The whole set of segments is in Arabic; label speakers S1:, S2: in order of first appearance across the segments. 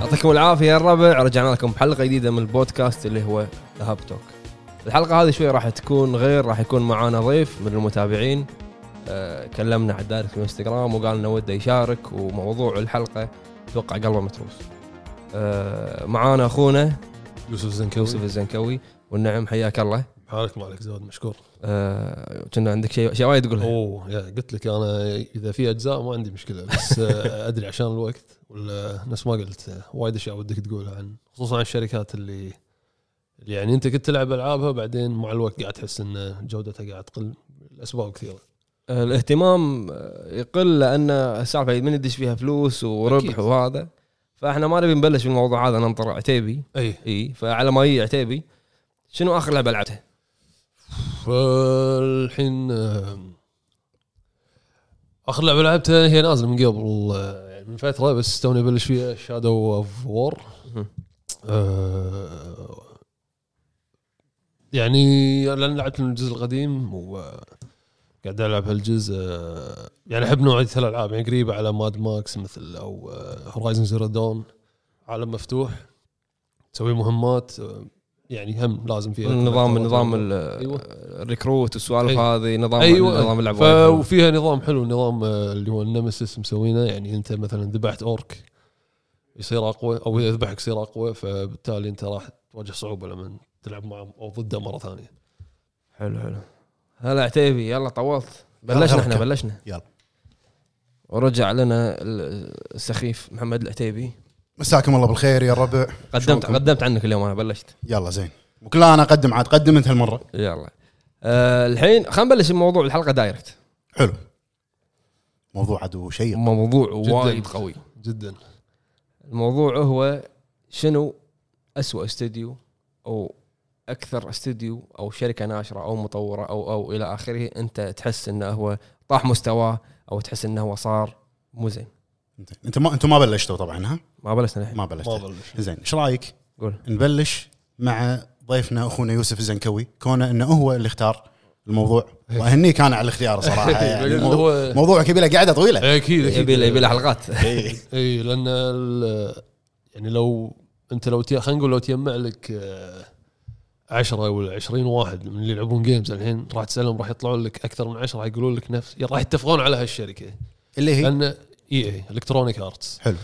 S1: يعطيكم العافيه يا الربع رجعنا لكم بحلقه جديده من البودكاست اللي هو هاب توك الحلقه هذه شوي راح تكون غير راح يكون معانا ضيف من المتابعين آه، كلمنا على الدايركت في الانستغرام وقال انه وده يشارك وموضوع الحلقه اتوقع قلبه متروس آه، معانا اخونا
S2: يوسف
S1: يوسف
S2: زنكوي
S1: الزنكوي والنعم حياك الله
S2: حالك ما عليك زود مشكور
S1: آه، كنا عندك شيء شيء وايد تقوله
S2: اوه يا قلت لك انا اذا في اجزاء ما عندي مشكله بس آه، ادري عشان الوقت ولا نفس ما قلت آه، وايد اشياء ودك تقولها عن خصوصا عن الشركات اللي اللي يعني انت كنت تلعب العابها بعدين مع الوقت قاعد تحس ان جودتها قاعد تقل الاسباب كثيره
S1: آه، الاهتمام آه، يقل لان السالفه من يدش فيها فلوس وربح
S2: أكيد.
S1: وهذا فاحنا ما نبي نبلش بالموضوع هذا ننطر عتيبي
S2: اي
S1: اي فعلى ما يجي عتيبي شنو اخر لعبه لعبتها؟
S2: فالحين آه، اخر لعبه لعبتها هي نازله من قبل آه، يعني من فتره بس توني ابلش فيها شادو اوف وور
S1: مهم.
S2: آه، يعني لان لعبت من الجزء القديم وقاعد العب هالجزء آه، يعني احب نوعيه الالعاب يعني قريبه على ماد ماكس مثل آه، او هورايزن زيرو دون عالم مفتوح تسوي مهمات آه، يعني هم لازم فيها
S1: نظام نظام ال-
S2: أيوة.
S1: الريكروت والسوالف
S2: أيوة.
S1: هذه نظام
S2: ايوه
S1: نظام اللعب
S2: ف-
S1: وايد حلو.
S2: وفيها نظام حلو نظام آه، اللي هو النمسيس مسوينه يعني انت مثلا ذبحت اورك يصير اقوى او اذا ذبحك يصير اقوى فبالتالي انت راح تواجه صعوبه لما تلعب معه او ضده مره ثانيه.
S1: حلو حلو هلا عتيبي يلا طولت بلشنا احنا
S3: غركة.
S1: بلشنا
S3: يلا.
S1: ورجع لنا ال- السخيف محمد العتيبي
S3: مساكم الله بالخير يا الربع
S1: قدمت
S3: شلونكم؟
S1: قدمت عنك اليوم انا بلشت
S3: يلا زين وكل انا اقدم عاد قدم انت هالمره
S1: يلا أه الحين خلينا نبلش الموضوع الحلقه دايركت
S3: حلو موضوع عدو شيق
S1: موضوع
S2: جداً.
S1: وايد قوي
S2: جدا
S1: الموضوع هو شنو أسوأ استوديو او اكثر استوديو او شركه ناشره او مطوره او او الى اخره انت تحس انه هو طاح مستواه او تحس انه هو صار مو زين
S3: إنت- انت ما انتم ما بلشتوا طبعا ها
S1: ما بلشنا الحين
S3: ما
S2: ما
S3: بلشتوا
S2: بلش
S3: زين ايش رايك
S1: قول
S3: نبلش مع ضيفنا اخونا يوسف الزنكوي كونه انه هو اللي اختار الموضوع
S1: إيه.
S3: واهنيه كان على الاختيار صراحه يعني
S2: اللي
S3: مو-
S2: هو إيه،
S3: موضوع كبيره قاعده
S1: إيه.
S3: طويله
S2: اكيد اكيد
S1: يبي له يبي له حلقات
S3: إيه.
S2: اي لان ال- يعني لو انت لو تي- خلينا نقول لو تجمع لك آه، 10 ولا 20 واحد من اللي يلعبون جيمز الحين راح تسالهم راح يطلعون لك اكثر من 10 راح يقولون لك نفس راح يتفقون على هالشركه
S3: اللي هي
S2: لان اي اي الكترونيك ارتس
S3: حلو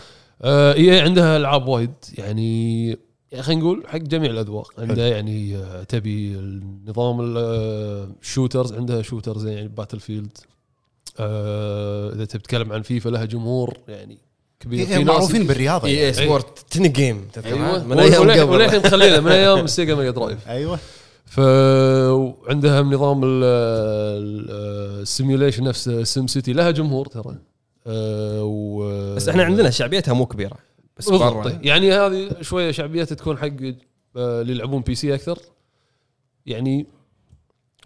S2: اي اي آه، عندها العاب وايد يعني يعني خلينا نقول حق جميع الاذواق
S3: حلو.
S2: عندها يعني آه، تبي نظام الشوترز عندها شوترز يعني باتل فيلد اذا تبي تتكلم عن فيفا لها جمهور يعني كبير
S3: إيه، معروفين بالرياضه
S1: اي
S3: يعني.
S1: اي سبورت تني جيم تذكر
S2: ايوه
S1: من ايام
S2: وللحين-
S1: قبل
S2: وللحين مخلينا من ايام السيجا ميجا درايف
S1: إيه.
S3: ايوه
S2: فعندها نظام آه، السيميوليشن نفسه سيم سيتي لها جمهور ترى آه، و-
S1: بس احنا عندنا شعبيتها مو كبيره بس
S2: بالضبط
S1: برا
S2: يعني هذه شويه شعبيتها تكون حق آه، اللي يلعبون بي سي اكثر يعني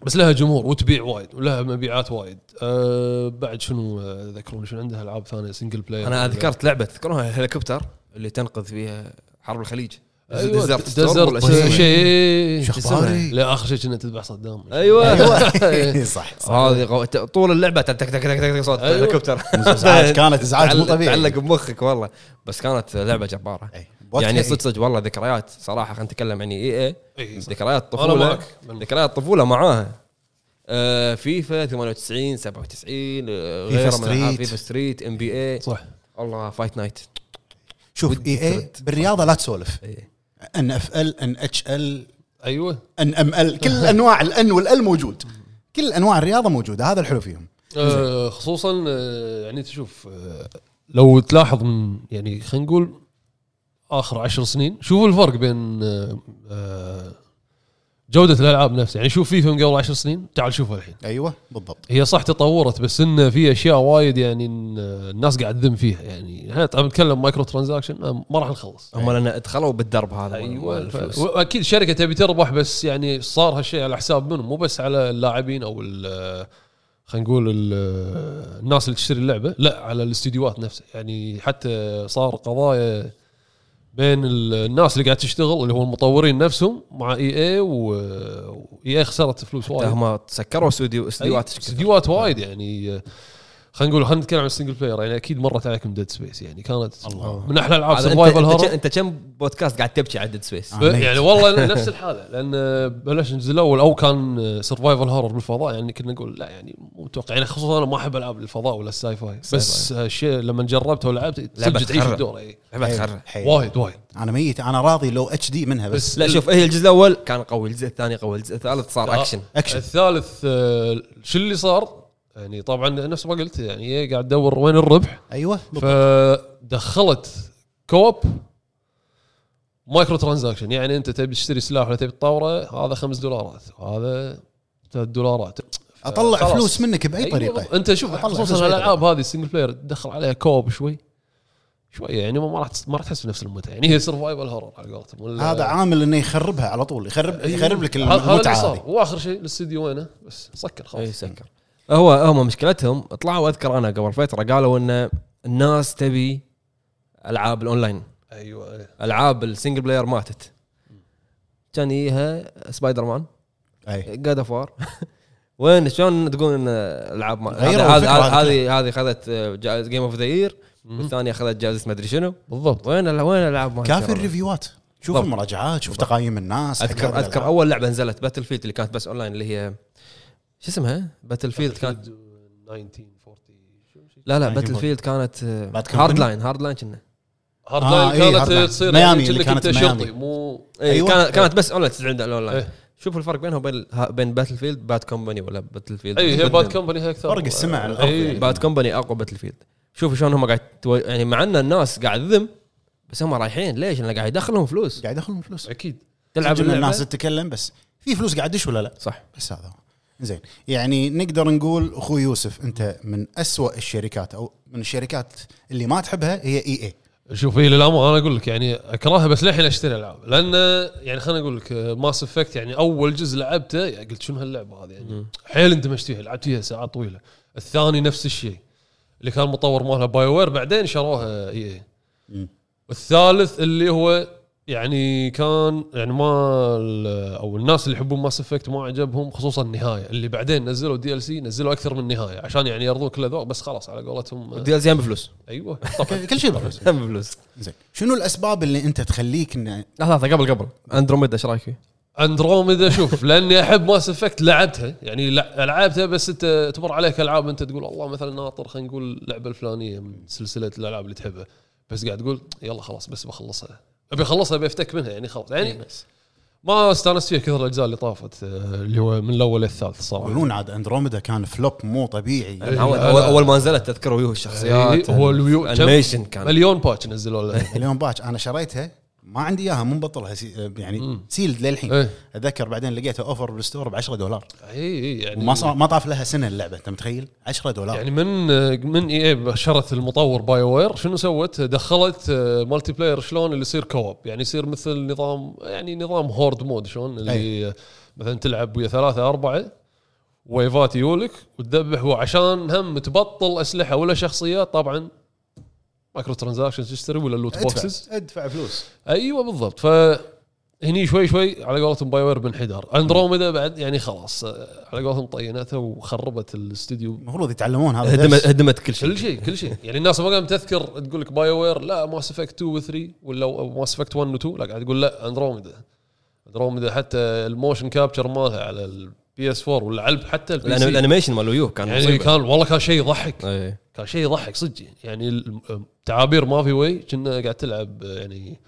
S2: بس لها جمهور وتبيع وايد ولها مبيعات وايد أه بعد شنو آه، ذكرون شنو عندها العاب ثانيه سنجل بلاير
S1: انا ذكرت لعبه تذكرونها الهليكوبتر اللي تنقذ فيها حرب الخليج
S2: ايوه
S1: أيوة، Desert Storm ولا
S2: ديزرت
S1: شو اسمها؟
S2: شيء
S3: شو اخباري؟
S2: لا اخر شيء كنا تذبح صدام
S1: ايوه
S3: ايوه صح صح.
S1: هذه غو... ت- طول اللعبه تك تك تك تك تك صوت
S2: أيوة.
S1: هليكوبتر
S3: إزعاج كانت ازعاج مو
S1: تعلق-
S3: طبيعي
S1: تعلق بمخك والله بس كانت لعبه جباره
S3: إيه.
S1: يعني صدق صدق والله ذكريات صراحه خلينا نتكلم عن اي اي
S2: اي صح.
S1: ذكريات
S2: انا
S1: طفوله
S2: معك
S1: ذكريات طفوله معاها آه فيفا 98 97 آه،
S3: فيفا
S1: غيره من الألعاب.
S3: ستريت.
S1: فيفا ستريت ام بي اي
S2: صح
S1: الله فايت نايت
S3: شوف اي اي بالرياضه لا تسولف
S1: إيه.
S3: ان اف ال ان اتش ال
S2: ايوه
S3: ان ام ال كل انواع الان والال موجود كل انواع الرياضه موجوده هذا الحلو فيهم
S2: آه، خصوصا آه، يعني تشوف آه، لو تلاحظ من يعني خلينا نقول اخر عشر سنين شوفوا الفرق بين آه، آه، جوده الالعاب نفسها يعني شوف فيفا من قبل عشر سنين تعال شوفها الحين
S3: ايوه بالضبط
S2: هي صح تطورت بس انه في اشياء وايد يعني إن، آه، الناس قاعد تذم فيها يعني احنا طبعاً نتكلم مايكرو ترانزاكشن آه، ما راح نخلص
S1: هم لان ادخلوا بالدرب هذا
S2: ايوه ف-
S1: الفلوس.
S2: واكيد الشركه تبي تربح بس يعني صار هالشيء على حساب منهم مو بس على اللاعبين او ال- خلينا نقول ال- الناس اللي تشتري اللعبه لا على الاستديوهات نفسها يعني حتى صار قضايا بين ال- الناس اللي قاعد تشتغل اللي هو المطورين نفسهم مع إيه اي اي واي اي إيه خسرت فلوس وايد أيوة.
S1: هم سكروا استوديو استديوهات
S2: استديوهات وايد يعني خلينا نقول خلينا نتكلم عن السنجل بلاير يعني اكيد مرت عليكم ديد سبيس يعني كانت
S3: الله.
S2: من احلى العاب
S1: هذا
S2: سرفايفل
S1: انت, أنت-
S2: هورر
S1: انت كم بودكاست قاعد تبكي على ديد سبيس
S3: آه.
S2: يعني والله نفس آه، الحاله لان بلش الجزء الاول او كان سرفايفل هورر بالفضاء يعني كنا نقول لا يعني مو متوقع يعني خصوصا انا ما احب العاب الفضاء ولا الساي فاي بس الشيء لما جربته ولعبت
S4: لعبة
S2: تسجل تعيش
S4: تخرع.
S2: الدور اي
S4: لعبة تخرع
S3: حيل.
S2: وايد وايد
S3: انا ميت انا راضي لو اتش دي منها أيوة. بس
S2: بس
S1: لا شوف هي الجزء الاول كان قوي الجزء الثاني قوي الجزء الثالث صار
S2: لا.
S1: اكشن
S3: اكشن
S2: آه، الثالث آه، شو اللي صار؟ يعني طبعا نفس ما قلت يعني هي قاعد تدور وين الربح
S3: ايوه بالضبط.
S2: فدخلت كوب مايكرو ترانزاكشن يعني انت تبي تشتري سلاح ولا تبي تطوره هذا خمس دولارات وهذا ثلاث دولارات
S3: اطلع
S2: خلاص.
S3: فلوس منك باي
S2: أيوة،
S3: طريقه
S2: انت شوف
S3: أطلع
S2: خصوصا
S3: فلوس بأي
S2: الالعاب هذه السنجل بلاير تدخل عليها كوب شوي شويه يعني ما راح تس- ما راح تحس بنفس المتعه يعني هي سرفايفل هورر على قولتهم ولا-
S3: هذا عامل انه يخربها على طول يخرب يخرب لك
S2: أيوة. هذا- هذا اللي
S3: المتعه
S2: صار.
S3: هذه
S2: واخر شيء الاستديو وينه بس سكر
S1: اي
S2: خلاص
S1: سكر هو هم مشكلتهم طلعوا اذكر انا قبل فتره قالوا ان الناس تبي العاب الاونلاين
S2: ايوه أيوة.
S1: العاب السنجل بلاير ماتت كان يجيها سبايدر مان
S3: أي.
S1: جاد اوف وار وين شلون تقول ان العاب ما-
S3: غيروا
S1: هذه-
S3: الفكرة
S1: هذه-
S3: هذه.
S1: هذه هذه اخذت جائزه جيم اوف ذا يير والثانيه اخذت جائزه ما ادري شنو
S2: بالضبط
S1: وين ال- وين الالعاب ما
S3: كافي
S1: انشهرت؟
S3: الريفيوات شوف
S1: بالضبط.
S3: المراجعات شوف تقايم الناس
S1: اذكر اذكر اول لعبه نزلت باتل فيلد اللي كانت بس اونلاين اللي هي شو اسمها؟ باتل فيلد كانت
S2: 1940 شو- شو-
S1: لا لا
S3: 1940.
S1: باتل فيلد كانت
S3: Bad Company؟
S1: هارد لاين هارد لاين كنا
S2: هارد
S3: آه،
S2: لاين
S3: إيه،
S2: كانت
S3: هارد لاين.
S2: تصير
S3: ميامي
S2: يعني
S3: اللي
S2: كأنك
S3: كانت
S2: انت
S3: ميامي.
S2: شرطي مو
S1: ايوه
S3: أيوة.
S1: كانت كانت بس اونلاين تنزل عند الاونلاين
S2: إيه.
S1: شوف الفرق بينها وبين ها- بين باتل فيلد باد كومباني ولا باتل فيلد
S2: اي إيه، هي باد كمباني هي اكثر
S3: فرق السمع على الأرض
S2: إيه.
S3: يعني.
S1: باد كومباني اقوى باتل فيلد شوف شلون هم قاعد تو... يعني مع ان الناس قاعد تذم بس هم رايحين ليش؟ لان قاعد يدخلهم فلوس
S3: قاعد يدخلون فلوس
S2: اكيد
S1: تلعب
S3: سجل
S1: اللعبة.
S3: الناس تتكلم بس في فلوس قاعد تدش ولا لا؟
S1: صح
S3: بس هذا هو. زين يعني نقدر نقول اخوي يوسف انت من أسوأ الشركات او من الشركات اللي ما تحبها هي اي اي
S2: شوف إيه، هي للامانه انا اقول لك يعني اكرهها بس للحين اشتري العاب لان يعني خليني اقول لك ماس افكت يعني اول جزء لعبته يعني قلت شنو هاللعبه هذه يعني حيل اندمجت فيها لعبت فيها ساعات طويله الثاني نفس الشيء اللي كان مطور مالها باي وير بعدين شروها اي اي والثالث اللي هو يعني كان يعني ما ال- او الناس اللي يحبون ماس افكت ما عجبهم خصوصا النهايه اللي بعدين نزلوا دي ال سي نزلوا اكثر من نهايه عشان يعني يرضون كل الاذواق بس خلاص على قولتهم
S1: الدي ال سي هم بفلوس
S2: ايوه طبعا
S3: كل شيء بفلوس
S2: طيب.
S1: هم بفلوس
S3: زين شنو الاسباب اللي انت تخليك إن
S1: لحظه لحظه قبل قبل اندروميدا ايش رايك فيه؟
S2: اندروميدا شوف لاني احب ماس افكت لعبتها يعني لع- لعبتها بس انت تمر عليك العاب انت تقول الله مثلا ناطر خلينا نقول اللعبه الفلانيه من سلسله الالعاب اللي تحبها بس قاعد تقول يلا خلاص بس بخلصها ابي اخلصها ابي افتك منها يعني خلاص
S1: إيه.
S2: يعني ما استانست فيها كثر الاجزاء اللي طافت آه، اللي هو من الاول للثالث صراحه
S3: يقولون عاد اندروميدا كان فلوب مو طبيعي
S1: أول,
S2: لا،
S1: أول,
S2: لا.
S1: اول ما نزلت تذكر ويوه الشخصيات
S2: إيه، هو الويو-
S1: انيميشن كان
S2: مليون باتش نزلوا له
S3: اليوم باش انا شريتها ما عندي اياها مو مبطلها سي يعني سيلد للحين
S2: إيه.
S3: اتذكر بعدين لقيتها اوفر بالستور ب 10 دولار
S2: اي إي، يعني
S3: وما صار ما طاف لها سنه اللعبه انت متخيل 10 دولار
S2: يعني من من اي اي شرت المطور باي وير شنو سوت؟ دخلت مالتي بلاير شلون اللي يصير كوب يعني يصير مثل نظام يعني نظام هورد مود شلون اللي مثلا تلعب ويا ثلاثه اربعه ويفات يولك وتذبح وعشان هم تبطل اسلحه ولا شخصيات طبعا مايكرو ترانزاكشن تشتري ولا اللوت بوكسز
S3: ادفع ادفع فلوس
S2: ايوه بالضبط فهني شوي شوي على قولتهم باي وير بانحدار اندروميدا بعد يعني خلاص على قولتهم طينتها وخربت الاستديو
S3: المفروض يتعلمون هذا
S2: إيه،
S1: هدمت
S3: درس.
S1: هدمت كل
S2: كل
S1: شيء
S2: شيء كل شيء يعني الناس ما قامت تذكر تقول لك باي وير لا ماس افكت 2 و 3 ولا ماس افكت 1 و 2 لا قاعد تقول لا اندروميدا اندروميدا حتى الموشن كابتشر مالها على البي اس 4 ولا علب حتى البي
S1: الأني-
S2: سي
S1: الانيميشن مال ويوه كان
S2: يعني
S1: مصيبه
S2: كان والله كان شيء يضحك
S1: إيه.
S2: كان شيء يضحك صدق يعني ال- تعابير ما في وي كنا قاعد تلعب يعني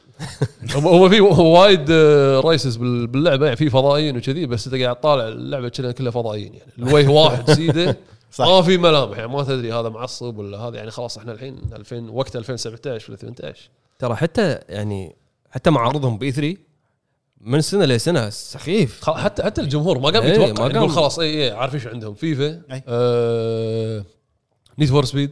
S2: هو- هو في وايد آه، رايسز باللعبه يعني في فضائيين وكذي بس انت قاعد طالع اللعبه كنا كلها فضائيين يعني الوجه واحد سيده
S3: صح.
S2: ما في ملامح يعني ما تدري هذا معصب ولا هذا يعني خلاص احنا الحين 2000 وقت 2017 ولا 18
S1: ترى حتى يعني حتى معارضهم بي 3 من سنه لسنه سخيف
S2: خل- حتى حتى الجمهور ما قام
S1: إيه،
S2: يتوقع
S1: ما
S2: ما
S1: قام.
S2: يقول خلاص اي اي عارف ايش عندهم فيفا
S3: أي.
S2: آه نيد فور سبيد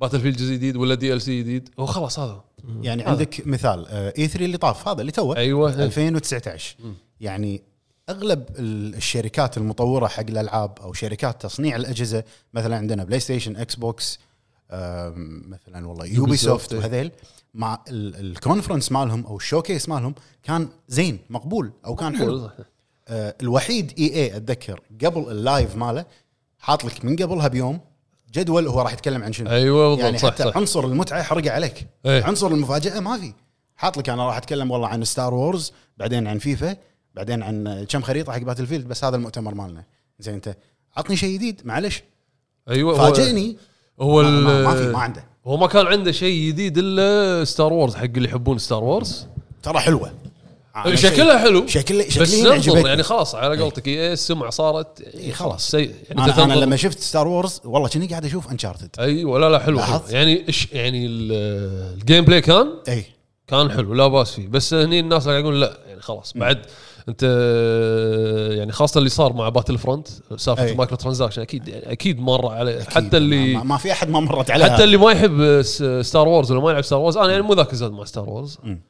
S2: باتل فيلد جزء جديد ولا دي ال سي جديد هو خلاص هذا
S3: يعني عندك مثال اي 3 اللي طاف هذا اللي توه
S2: ايوه
S3: 2019 يعني اغلب ال- الشركات المطوره حق الالعاب او شركات تصنيع الاجهزه مثلا عندنا بلاي ستيشن اكس بوكس أم، مثلا والله يوبي
S2: Ubisoft،
S3: سوفت
S2: إيه.
S3: وهذيل مع ال- الكونفرنس مالهم او الشوكيس مالهم كان زين مقبول او كان حلو آه،
S2: والله.
S3: إيه أه، الوحيد اي اي اتذكر قبل اللايف ماله حاط لك من قبلها بيوم جدول هو راح يتكلم عن شنو
S2: ايوه بالضبط
S3: يعني
S2: صح
S3: حتى
S2: صح
S3: عنصر المتعه حرق عليك
S2: إيه.
S3: عنصر المفاجاه ما في حاط لك انا راح اتكلم والله عن ستار وورز بعدين عن فيفا بعدين عن كم خريطه حق باتل فيلد بس هذا المؤتمر مالنا زين انت عطني شيء جديد معلش
S2: ايوه هو-
S3: فاجئني
S2: هو
S3: ما, ما, ما في
S2: ال-
S3: ما عنده
S2: هو ما كان عنده شيء جديد الا ستار وورز حق اللي يحبون ستار وورز
S3: ترى حلوه أنا
S2: إيه، شكلها حلو
S3: شيء- شكل
S2: بس
S3: شكليا
S2: ننظر
S3: عجبتني
S2: يعني خلاص على قولتك اي السمعه صارت إيه، خلاص سيء يعني أنت
S3: انا, أنا
S2: تنظر-
S3: لما شفت ستار وورز والله كني قاعد اشوف انشارتد
S2: ايوه لا لا حلو, حلو.
S3: لاحظت؟
S2: يعني إش يعني ال- الجيم بلاي كان
S3: اي
S2: كان حلو لا باس فيه بس هني الناس قاعد يقول لا يعني خلاص بعد انت يعني خاصه اللي صار مع باتل فرونت سالفه
S3: أي.
S2: المايكرو ترانزاكشن اكيد يعني اكيد مر عليه
S3: إيه. أكيد.
S2: حتى اللي
S3: ما, ما في احد ما مرت عليها
S2: حتى اللي ما يحب س- ستار وورز ولا ما يلعب ستار وورز انا يعني مو ذاك الزود مع ستار وورز
S3: مم.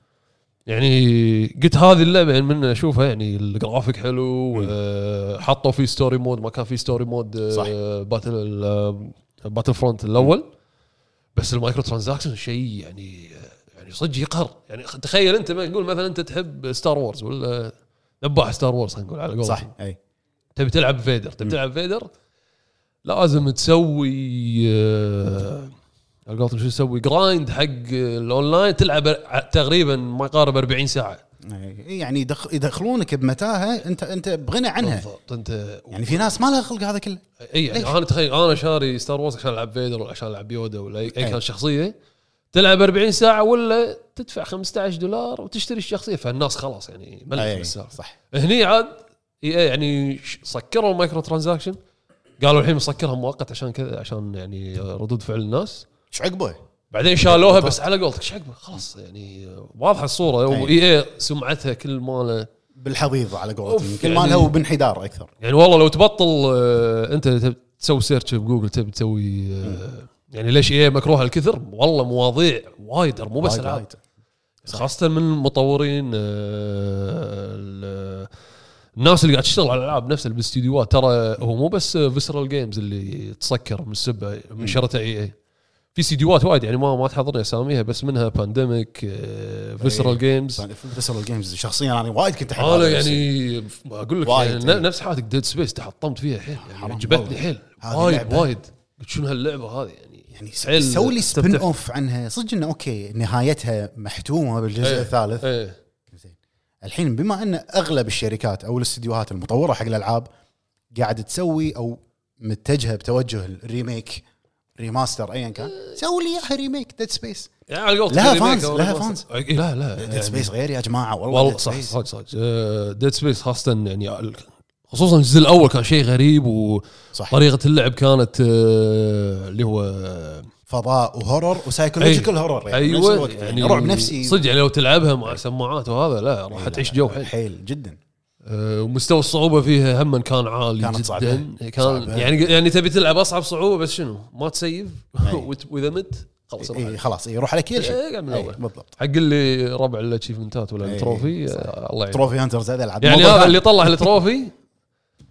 S2: يعني قلت هذه اللعبه يعني من اشوفها يعني الجرافيك حلو آه، حطوا فيه ستوري مود ما كان فيه ستوري مود آه،
S3: صح.
S2: باتل ال- باتل فرونت الاول بس المايكرو ترانزاكشن شيء يعني يعني صدق يقهر يعني خ- تخيل انت ما نقول مثلا انت تحب ستار وورز ولا نباح ستار وورز خلينا نقول على قولتهم
S3: صح إيه. اي
S2: تبي تلعب فيدر تبي تلعب فيدر لازم تسوي آه، على قولتهم شو تسوي جرايند حق الاونلاين تلعب ع- تقريبا ما يقارب 40 ساعه
S3: أي. يعني يدخ- يدخلونك بمتاهه انت انت بغنى عنها
S2: بالضبط انت
S3: يعني في ناس ما لها خلق هذا كله
S2: اي يعني
S3: ليش؟
S2: انا تخيل انا شاري ستار وورز عشان العب فيدر ولا عشان العب يودا ولا اي أي
S3: أي.
S2: كان شخصيه تلعب 40 ساعه ولا تدفع 15 دولار وتشتري الشخصيه فالناس خلاص يعني ملت من
S3: اي
S2: السالفه
S3: صح
S2: هني عاد اي يعني ش- سكروا المايكرو ترانزاكشن قالوا الحين مسكرها مؤقت عشان كذا عشان يعني ردود فعل الناس
S3: ايش عقبه؟
S2: بعدين شالوها بس على قولتك ايش عقبه خلاص يعني واضحه الصوره واي اي سمعتها كل ماله
S3: بالحضيض على قولتهم
S2: أوف،
S3: كل
S2: يعني-
S3: مالها وبانحدار اكثر
S2: يعني والله لو تبطل آه، انت تب- تسوي سيرش بجوجل تبي تسوي آه، يعني ليش اي مكروهه الكثر والله مواضيع وايد مو بس
S3: وايد-
S2: العاب
S3: وايد.
S2: خاصه من المطورين آه، ال- الناس اللي قاعد تشتغل على الالعاب نفسها بالاستديوهات ترى هو مو بس فيسرال جيمز اللي تسكر من السبه من شرته اي اي في استديوهات وايد يعني ما ما تحضرني اساميها بس منها آه، بانديميك فيسرال جيمز
S3: يعني فيسرال جيمز شخصيا انا وايد كنت احب
S2: انا
S3: هذا
S2: يعني اقول لك
S3: وايد
S2: يعني
S3: يعني.
S2: نفس حالتك ديد سبيس تحطمت فيها حيل يعني
S3: حرام
S2: عجبتني
S3: والله.
S2: حيل
S3: هذه
S2: وايد
S3: لعبة.
S2: وايد قلت شنو هاللعبه هذه يعني
S3: يعني س-
S2: حيل
S3: سوي لي سبين
S2: تفتح.
S3: اوف عنها صدق انه اوكي نهايتها محتومه بالجزء
S2: إيه.
S3: الثالث
S2: ايه
S3: زين الحين بما ان اغلب الشركات او الاستديوهات المطوره حق الالعاب قاعد تسوي او متجهه بتوجه الريميك ريماستر ايا
S2: إيه.
S3: كان سوي لي اياها ريميك ديد سبيس
S2: يعني على قولتك
S3: لها
S2: الريميك
S3: fans،
S2: أو
S3: لها
S2: الريماستر.
S3: fans.
S2: إيه، لا لا
S3: ديد
S2: يعني
S3: سبيس غير يا جماعه والله
S2: والله
S3: Dead
S2: صح
S3: Space.
S2: صح آه، صح ديد سبيس خاصه يعني ال- خصوصا الجزء الاول كان شيء غريب
S3: صح.
S2: وطريقه اللعب كانت آه، اللي هو آه،
S3: فضاء وهورر وسايكولوجيكال هورر يعني بنفس
S2: ايوه
S3: الوقت يعني رعب نفسي
S2: صدق يعني لو تلعبها مع سماعات وهذا لا راح تعيش جو حيل
S3: حيل جدا
S2: آه، ومستوى الصعوبه فيها هم كان عالي
S3: كانت
S2: جدا
S3: صعبة.
S2: كان
S3: صعبة.
S2: يعني يعني تبي تلعب اصعب صعوبه بس شنو ما تسيف
S3: إيه.
S2: وت- واذا مت خلاص روح
S3: اي إيه، خلاص اي روح على كل شيء
S2: إيه، قاعد من
S3: إي،
S2: أول.
S3: بالضبط
S2: حق اللي ربع الاتشيفمنتات ولا
S3: إيه،
S2: التروفي آه، الله يعين
S3: تروفي هانترز هذا العاب
S2: يعني
S3: موضوع
S2: هذا
S3: ثاني.
S2: اللي طلع التروفي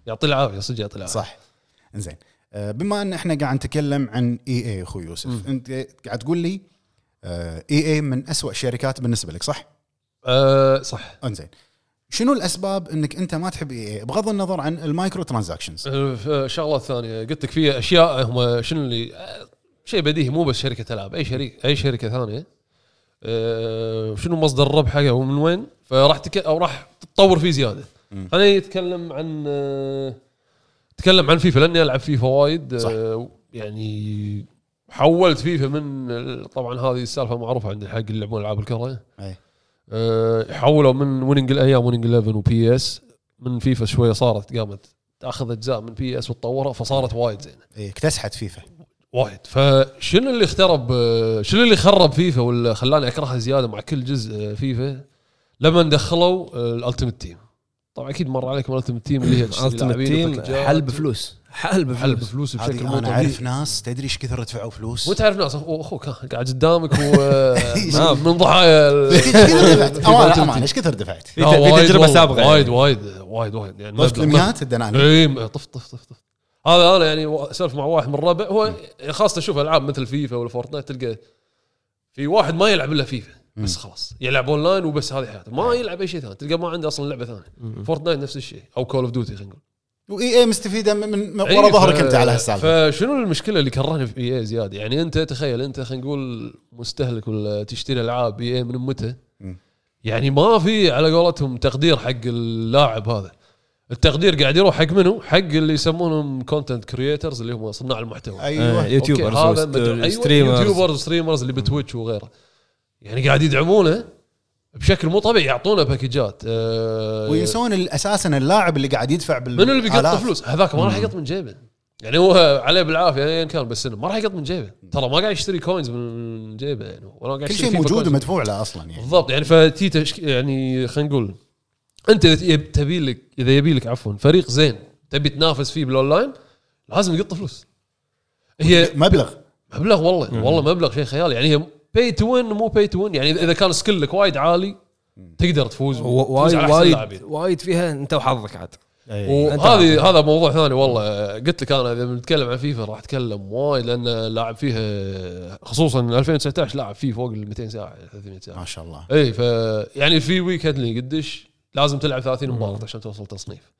S2: يعطي العافيه صدق يعطي العافيه
S3: صح انزين آه، بما ان احنا قاعد نتكلم عن اي اي اخوي يوسف انت قاعد تقول لي اي اي من أسوأ شركات بالنسبه لك صح؟
S2: أه صح
S3: انزين شنو الاسباب انك انت ما تحب اي اي بغض النظر عن المايكرو ترانزاكشنز
S2: أه، شغله ثانيه قلت لك في اشياء هم شنو اللي أه، شيء بديهي مو بس شركه العاب اي شريك اي شركه ثانيه أه شنو مصدر الربح حقها ومن وين فراح تك... او راح تتطور فيه زياده خليني اتكلم عن أه، اتكلم عن فيفا لاني العب فيفا وايد
S3: صح.
S2: أه يعني حولت فيفا من ال- طبعا هذه السالفه معروفه عند حق اللي يلعبون العاب الكره
S3: أي.
S2: أه، حولوا من ويننج الايام ويننج 11 وبي اس من فيفا شويه صارت قامت تاخذ اجزاء من بي اس وتطورها فصارت وايد زينه
S3: إي، إيه، اكتسحت فيفا
S2: وايد فشنو اللي اخترب أه، شنو اللي خرب فيفا ولا خلاني اكرهها زياده مع كل جزء أه، فيفا لما دخلوا الالتيمت تيم طبعا اكيد مر عليكم الالتيمت تيم اللي هي تشتري
S1: التيم
S2: لاعبين
S1: تيم
S2: وباكجات.
S1: حل بفلوس حل
S2: حل
S1: بفلوس
S2: بفلوس بشكل
S3: هذه
S2: مو
S3: انا
S2: طبيعي
S3: اعرف ناس تدري ايش كثر دفعوا فلوس
S2: وانت عارف ناس اخوك ها، قاعد قدامك و
S1: نعم.
S2: من ضحايا ال-
S3: ايش كثر دفعت؟ امانه امانه ايش كثر دفعت؟
S1: في- في
S2: لا، وايد
S1: تجربة
S2: والله،
S1: سابقة يعني. طيب،
S2: وايد وايد وايد وايد يعني
S3: طفت
S2: مبلغ-
S3: المئات الدنانير
S2: اي م- طف طف طف طف هذا انا يعني وا- سولف مع واحد من الربع هو خاصه اشوف العاب مثل فيفا ولا فورتنايت تلقى في واحد ما يلعب الا فيفا بس خلاص يلعب اونلاين وبس هذه حياته ما يلعب اي شيء ثاني تلقى ما عنده اصلا لعبه ثانيه فورتنايت نفس الشيء او كول اوف ديوتي خلينا نقول
S3: واي اي مستفيده من- من
S2: إيه،
S3: ورا ظهرك انت على هالسالفه
S2: فشنو المشكله اللي كرهنا في اي زياده يعني انت تخيل انت خلينا نقول مستهلك ولا تشتري العاب اي من متى
S3: مم.
S2: يعني ما في على قولتهم تقدير حق اللاعب هذا التقدير قاعد يروح حق منو؟ حق اللي يسمونهم كونتنت كريترز اللي هم صناع المحتوى
S1: آه،
S3: ايوه
S2: أوكي،
S1: يوتيوبرز
S2: هذا مدري-
S1: وست-
S2: أيوة،
S1: ستريمرز
S2: يوتيوبرز ستريمرز اللي بتويتش وغيره يعني قاعد يدعمونه بشكل مو طبيعي يعطونه باكجات آه،
S3: وينسون ال- اساسا اللاعب اللي قاعد يدفع بال
S2: منو اللي بيقط
S3: آلاف.
S2: فلوس؟ هذاك ما راح يقط من جيبه يعني هو عليه بالعافيه ايا كان بس إنه ما راح يقط من جيبه ترى ما قاعد يشتري كوينز من جيبه يعني ولا قاعد
S3: كل
S2: يشتري
S3: شيء
S2: فيفا
S3: موجود
S2: كوينز.
S3: ومدفوع له اصلا يعني
S2: بالضبط يعني فتي تشك... يعني خلينا نقول انت اذا يب- تبي لك اذا يبي لك عفوا فريق زين تبي تنافس فيه بالاونلاين لازم يقط فلوس هي
S3: مبلغ
S2: مبلغ والله والله مبلغ شيء خيالي يعني هي باي تو وين مو باي تو وين يعني اذا كان سكلك وايد عالي تقدر تفوز
S1: وايد
S2: وتفوز على أحسن
S1: وايد
S2: اللاعبين.
S1: وايد فيها انت وحظك عاد أنت
S2: وهذه هذا موضوع ثاني والله قلت لك انا اذا بنتكلم عن فيفا راح اتكلم وايد لان لاعب فيها خصوصا 2019 لاعب فيه فوق ال 200 ساعه 300 ساعه
S3: ما شاء الله
S2: اي ف يعني في ويكند اللي قديش لازم تلعب 30 مباراه عشان توصل تصنيف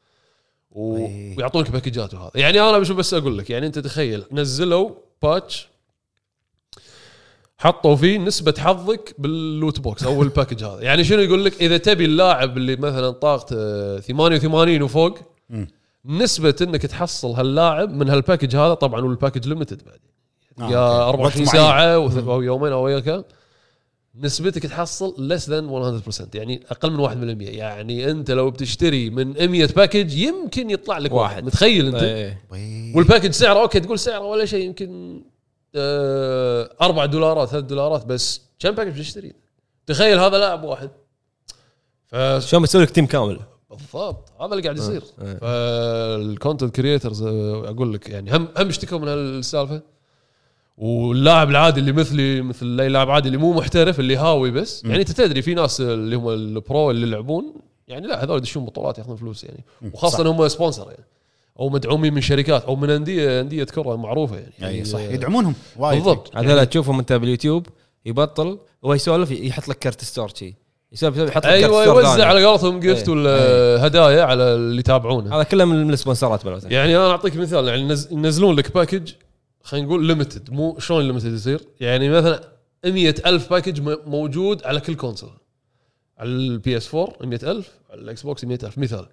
S2: و...
S3: أي.
S2: ويعطونك باكجات وهذا يعني انا شو بس اقول لك يعني انت تخيل نزلوا باتش حطوا فيه نسبة حظك باللوت بوكس او الباكج هذا، يعني شنو يقول لك اذا تبي اللاعب اللي مثلا طاقته 88 وفوق
S3: مم.
S2: نسبة انك تحصل هاللاعب من هالباكج هذا طبعا والباكج ليمتد بعد
S3: آه،
S2: يا
S3: أوكي.
S2: 24
S3: وقت معين.
S2: ساعه وث- او يومين او ويا كم نسبتك تحصل less than 100% يعني اقل من 1% يعني انت لو بتشتري من 100 باكج يمكن يطلع لك واحد,
S1: واحد.
S2: متخيل انت
S3: طيب.
S1: إيه.
S3: وي.
S2: والباكج سعره اوكي تقول سعره ولا شيء يمكن آه 4 دولارات 3 دولارات بس كم باكج بتشتري تخيل هذا لاعب واحد ف-
S1: شلون بتسوي لك تيم كامل؟
S2: بالضبط هذا اللي قاعد يصير
S1: إيه.
S2: فالكونتنت كريترز اقول لك يعني هم هم اشتكوا من هالسالفه واللاعب العادي اللي مثلي مثل اي لاعب عادي اللي مو محترف اللي هاوي بس يعني انت تدري في ناس اللي هم البرو اللي يلعبون يعني لا هذول يدشون بطولات ياخذون فلوس يعني
S3: صح.
S2: وخاصه هم سبونسر يعني او مدعومين من شركات او من انديه انديه كره معروفه يعني
S3: اي
S2: يعني
S3: صح
S2: آه،
S3: يدعمونهم وايد
S2: بالضبط
S1: هذول تشوفهم انت باليوتيوب يبطل هو يسولف يحط لك كرت ستور شي يسولف يسولف، يحط لك
S2: ايوه
S1: كرت ستور
S2: يوزع
S1: ثاني.
S2: على قولتهم جفت
S1: إيه.
S2: ولا هدايا على اللي يتابعونه
S1: هذا كله من من السبونسرات بالوزن
S2: يعني انا اعطيك مثال يعني نز- ينزلون لك باكج خلينا نقول ليمتد مو شلون ليمتد يصير يعني مثلا 100 ألف باكج م- موجود على كل كونسول على البي اس 4 100 ألف على الاكس بوكس 100 ألف مثال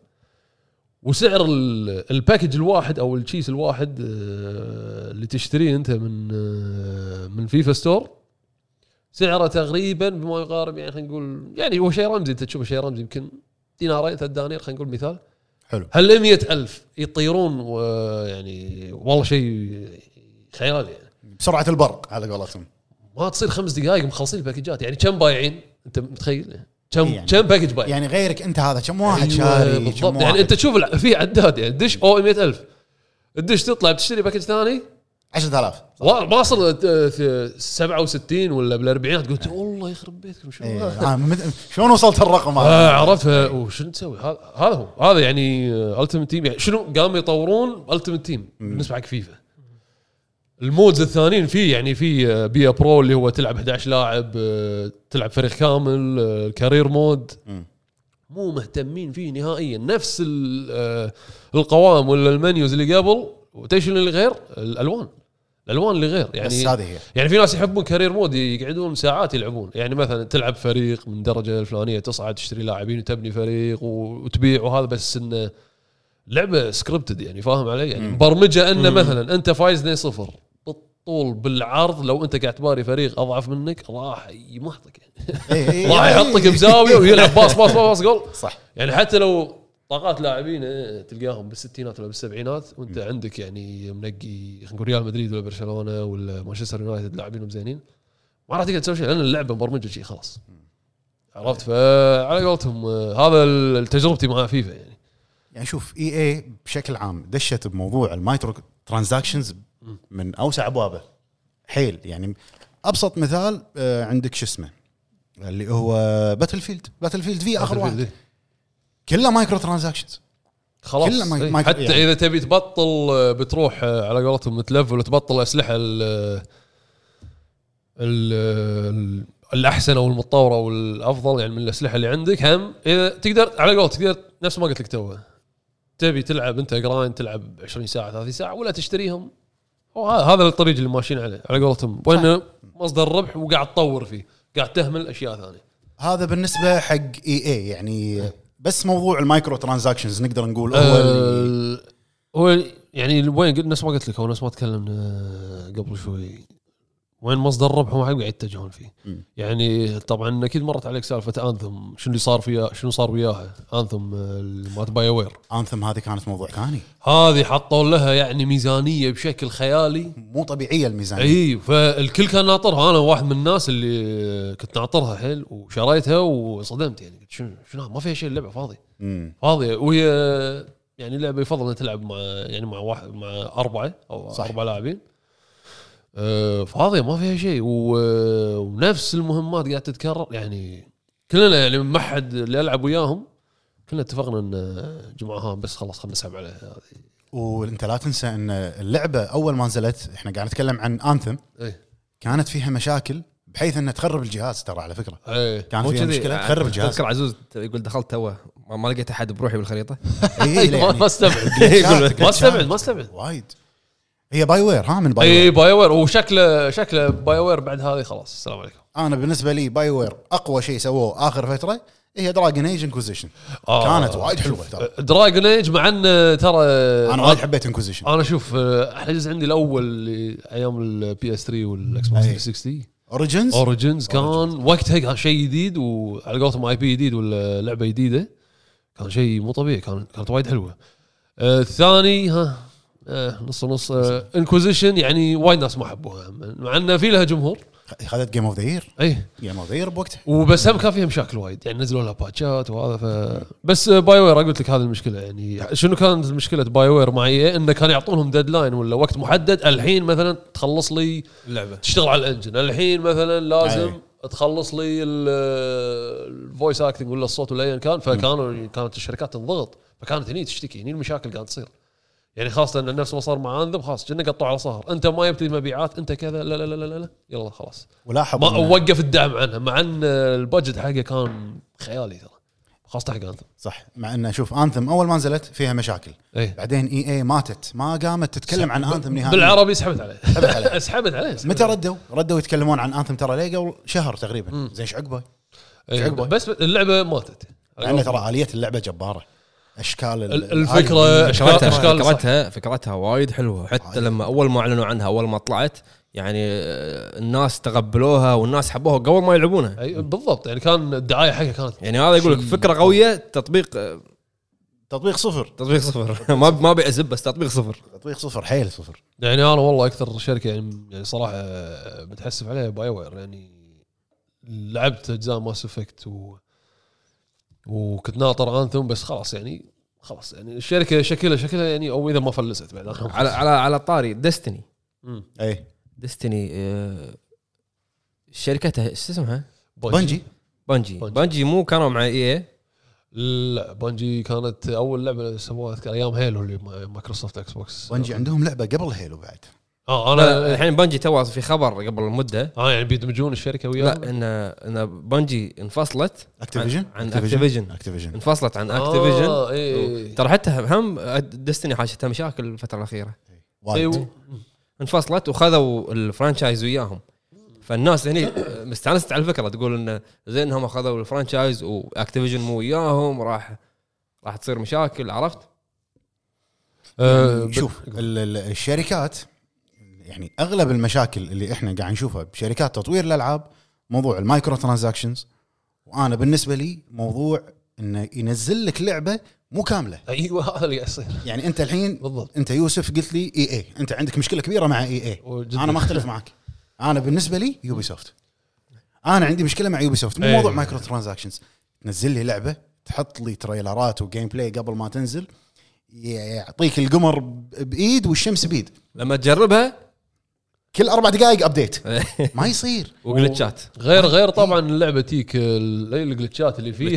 S2: وسعر ال- الباكج الواحد او الشيس الواحد آه، اللي تشتريه انت من آه، من فيفا ستور سعره تقريبا بما يقارب يعني خلينا نقول يعني هو شيء رمزي انت تشوفه شيء رمزي يمكن دينارين ثلاث دنانير خلينا نقول مثال
S3: حلو
S2: هل 100 ألف يطيرون ويعني والله شيء خيالي يعني
S3: بسرعه البرق على قولتهم
S2: ما تصير خمس دقائق مخلصين الباكجات يعني كم بايعين انت متخيل كم
S3: يعني-
S2: يعني كم باكج بايع
S3: يعني غيرك انت هذا كم واحد
S2: أيوة،
S3: شاري
S2: بالضبط.
S3: كم
S2: يعني
S3: واحد
S2: انت تشوف الع- في عداد يعني دش او 100000 تدش تطلع بتشتري باكج ثاني
S3: 10000
S2: وا- واصل آه، ث- 67 ولا بالاربعينات قلت والله يخرب بيتكم شو
S3: إيه،
S2: هذا؟
S3: آه، مد- شلون وصلت الرقم
S2: آه
S3: هذا؟
S2: عرفها وشنو تسوي هذا هذا هو هذا يعني التيمت تيم يعني شنو قاموا يطورون التيمت تيم بالنسبه حق فيفا المودز الثانيين في يعني في بيا برو اللي هو تلعب 11 لاعب آه، تلعب فريق كامل آه، كارير مود
S3: مم.
S2: مو مهتمين فيه نهائيا نفس ال- آه، القوائم ولا المنيوز اللي قبل وتيش اللي غير الالوان الالوان اللي غير يعني
S3: بس هذه هي
S2: يعني في ناس يحبون كارير مود يقعدون ساعات يلعبون يعني مثلا تلعب فريق من درجه الفلانيه تصعد تشتري لاعبين وتبني فريق و- وتبيع وهذا بس انه لعبه سكريبتد يعني فاهم علي يعني مبرمجه انه مثلا انت فايز 2-0 بالطول بالعرض لو انت قاعد تباري فريق اضعف منك راح يمحطك يعني
S3: إيه، إيه،
S2: راح
S3: إيه،
S2: يحطك
S3: إيه.
S2: بزاويه ويلعب باص باص باص, باص جول
S3: صح
S2: يعني حتى لو طاقات لاعبين إيه، تلقاهم بالستينات ولا بالسبعينات وانت عندك يعني منقي خلينا نقول ريال مدريد ولا برشلونه ولا مانشستر يونايتد لاعبينهم زينين ما راح تقدر تسوي شيء لان اللعبه مبرمجه شيء خلاص عرفت فعلى قولتهم آه، هذا ال- تجربتي مع فيفا يعني
S3: يعني شوف اي اي بشكل عام دشت بموضوع المايكرو ترانزاكشنز من اوسع ابوابه حيل يعني ابسط مثال آه، عندك شو اسمه اللي هو باتل فيلد باتل فيلد في اخر واحد كله مايكرو ترانزاكشنز
S2: خلاص
S3: كله مايك-
S2: إيه،
S3: مايك-
S2: حتى
S3: يعني.
S2: اذا تبي تبطل آه، بتروح آه، على قولتهم تلفل وتبطل اسلحه ال آه، ال- ال- الاحسن او المتطوره او الافضل يعني من الاسلحه اللي عندك هم اذا تقدر على قولتك تقدر نفس ما قلت لك توه تبي تلعب انت جرايند تلعب 20 ساعه 30 ساعه ولا تشتريهم هو ه- هذا الطريق اللي ماشيين عليه على قولتهم وانه مصدر ربح وقاعد تطور فيه قاعد تهمل اشياء ثانيه
S3: هذا بالنسبه حق اي اي يعني بس موضوع المايكرو ترانزاكشنز نقدر
S2: آه.
S3: نقول هو اللي-
S2: أه، هو يعني وين قلت- نفس ما قلت لك او نفس ما تكلمنا قبل شوي وين مصدر ربحهم هاي قاعد يتجهون فيه
S3: مم.
S2: يعني طبعا اكيد مرت عليك سالفه انثم شنو اللي صار فيها شنو صار وياها انثم مالت باي وير
S3: انثم هذه كانت موضوع ثاني
S2: هذه حطوا لها يعني ميزانيه بشكل خيالي
S3: مو طبيعيه الميزانيه
S2: اي فالكل كان ناطرها انا واحد من الناس اللي كنت ناطرها حيل وشريتها وصدمت يعني قلت شنو شنو ما فيها شيء اللعبه فاضي
S3: مم.
S2: فاضيه وهي يعني لعبه يفضل انها تلعب مع يعني مع واحد مع اربعه او
S3: صح.
S2: صح. اربع لاعبين أه، فاضيه ما فيها شيء و- ونفس المهمات قاعد تتكرر يعني كلنا يعني ما حد اللي العب وياهم كلنا اتفقنا ان جماعه ها بس خلاص خلينا نسحب عليها هذه
S3: وانت لا تنسى ان اللعبه اول ما نزلت احنا قاعد نتكلم عن انثم
S2: ايه
S3: كانت فيها مشاكل بحيث انها تخرب الجهاز ترى على فكره
S2: ايه
S3: كان
S1: مو
S3: فيها
S1: كذي.
S3: مشكله تخرب الجهاز
S1: تذكر عزوز يقول دخلت توه ما ما لقيت احد بروحي بالخريطه
S3: إي، إي، لا يعني
S2: ما استبعد إيه،
S3: جلتشات،
S2: ما استبعد ما استبعد
S3: وايد هي باي وير ها من باي وير
S2: اي باي وير وشكله شكله باي وير بعد هذه خلاص السلام عليكم
S3: انا بالنسبه لي باي وير اقوى شيء سووه اخر فتره هي دراجن ايج انكوزيشن
S2: آه.
S3: كانت وايد حلوه ترى
S2: دراجون ايج مع ان ترى
S3: انا وايد حبيت انكوزيشن
S2: انا شوف آه، احلى جزء عندي الاول اللي ايام البي اس 3 والاكس بوكس
S3: أي.
S2: 360
S3: اوريجنز
S2: اوريجنز كان وقتها كان شيء جديد وعلى قولتهم اي بي جديد ولا لعبه جديده كان شيء مو طبيعي كان كانت وايد حلوه آه، الثاني ها آه، نص ونص انكوزيشن يعني وايد ناس ما حبوها مع انه في لها جمهور
S3: خذت جيم اوف ذا يير
S2: اي
S3: جيم اوف ذا يير بوقتها
S2: وبس هم كان فيها مشاكل وايد يعني نزلوا لها باتشات وهذا ف بس باي وير قلت لك هذه المشكله يعني شنو كانت مشكله باي وير مع اي انه كان يعطونهم ديدلاين ولا وقت محدد الحين مثلا تخلص لي
S1: اللعبه
S2: تشتغل على الانجن الحين مثلا لازم
S3: أي.
S2: تخلص لي الفويس اكتنج ولا الصوت ولا ايا كان فكانوا كانت الشركات تنضغط فكانت هني تشتكي هني المشاكل قاعد تصير يعني خاصة ان نفس ما صار مع انذب خلاص كنا قطعوا على صهر انت ما جبت لي مبيعات انت كذا لا لا لا لا, لا. يلا خلاص
S3: ولاحظ
S2: ما
S3: إن-
S2: وقف الدعم عنها مع ان البادجت حقه كان خيالي ترى خاصه حق انثم
S3: صح مع انه شوف انثم اول ما نزلت فيها مشاكل
S2: ايه
S3: بعدين اي اي ماتت ما قامت تتكلم عن انثم نهائيا
S2: بالعربي سحبت عليه
S3: يعني سحبت عليه.
S2: سحبت عليه
S3: متى ردوا؟ ردوا يتكلمون عن انثم ترى ليه قبل شهر تقريبا
S2: مم.
S3: زين ايش عقبه؟
S2: إيه،
S3: عقبه.
S2: بس اللعبه ماتت
S3: مع انه ترى اليه اللعبه جباره اشكال ال-
S2: ال- الفكره
S3: الآلية.
S2: اشكال
S1: فكرتها
S2: اشكال آه، صح.
S1: فكرتها, فكرتها وايد حلوه حتى لما اول ما اعلنوا عنها اول ما طلعت يعني آه، الناس تقبلوها والناس حبوها قبل ما يلعبونها
S2: أي، بالضبط يعني كان الدعايه حقها كانت
S1: يعني هذا يقول لك
S2: شيء
S1: فكره قويه تطبيق آه،
S3: تطبيق صفر
S1: تطبيق صفر ما ما ابي اسب بس تطبيق صفر
S3: تطبيق صفر حيل صفر
S2: يعني انا والله اكثر شركه يعني يعني صراحه متحسف عليها باي وير يعني لعبت اجزاء ماس افكت و... وكنت ناطر انثم بس خلاص يعني خلاص يعني الشركه شكلها شكلها يعني او اذا ما فلست بعد اخر
S1: على على على طاري ديستني
S2: مم.
S3: اي
S1: ديستني شركتها ايش اسمها؟
S3: بنجي
S1: بانجي
S2: بانجي.
S1: بانجي مو كانوا مع اي
S2: لا بنجي كانت اول لعبه سووها اذكر ايام هيلو اللي مع مايكروسوفت اكس بوكس
S3: بنجي عندهم لعبه قبل هيلو بعد
S2: اه
S1: انا
S2: انا
S1: الحين بانجي تو في خبر قبل مده
S2: اه يعني بيدمجون الشركه وياهم
S1: لا ان ان بانجي انفصلت
S3: اكتيفيجن
S1: عن إيه. اكتيفيجن
S3: اكتيفيجن
S1: انفصلت عن اكتيفيجن
S2: اه اي
S1: ترى حتى هم ديستني حاشتها مشاكل الفتره الاخيره
S3: إيه. وايد
S1: انفصلت وخذوا الفرانشايز وياهم فالناس هني مستانست على الفكره تقول انه زين هم اخذوا الفرانشايز واكتيفيجن مو وياهم راح راح تصير مشاكل عرفت؟
S2: آه،
S3: يعني شوف ال- ال- الشركات يعني اغلب المشاكل اللي احنا قاعد نشوفها بشركات تطوير الالعاب موضوع المايكرو ترانزاكشنز وانا بالنسبه لي موضوع انه ينزل لك لعبه مو كامله
S2: ايوه هذا اللي قاعد يصير
S3: يعني انت الحين
S2: بالضبط
S3: انت يوسف قلت لي اي اي انت عندك مشكله كبيره مع اي اي
S2: وجداً.
S3: انا ما اختلف معك انا بالنسبه لي يوبي سوفت انا عندي مشكله مع يوبي سوفت مو
S2: إيه.
S3: موضوع مايكرو ترانزاكشنز تنزل لي لعبه تحط لي تريلرات وجيم بلاي قبل ما تنزل يعطيك القمر ب- بايد والشمس بايد
S1: لما تجربها
S3: كل اربع دقائق ابديت ما يصير
S1: وجلتشات
S2: غير غير طبعا اللعبه تيك ال- الجلتشات اللي فيها آه،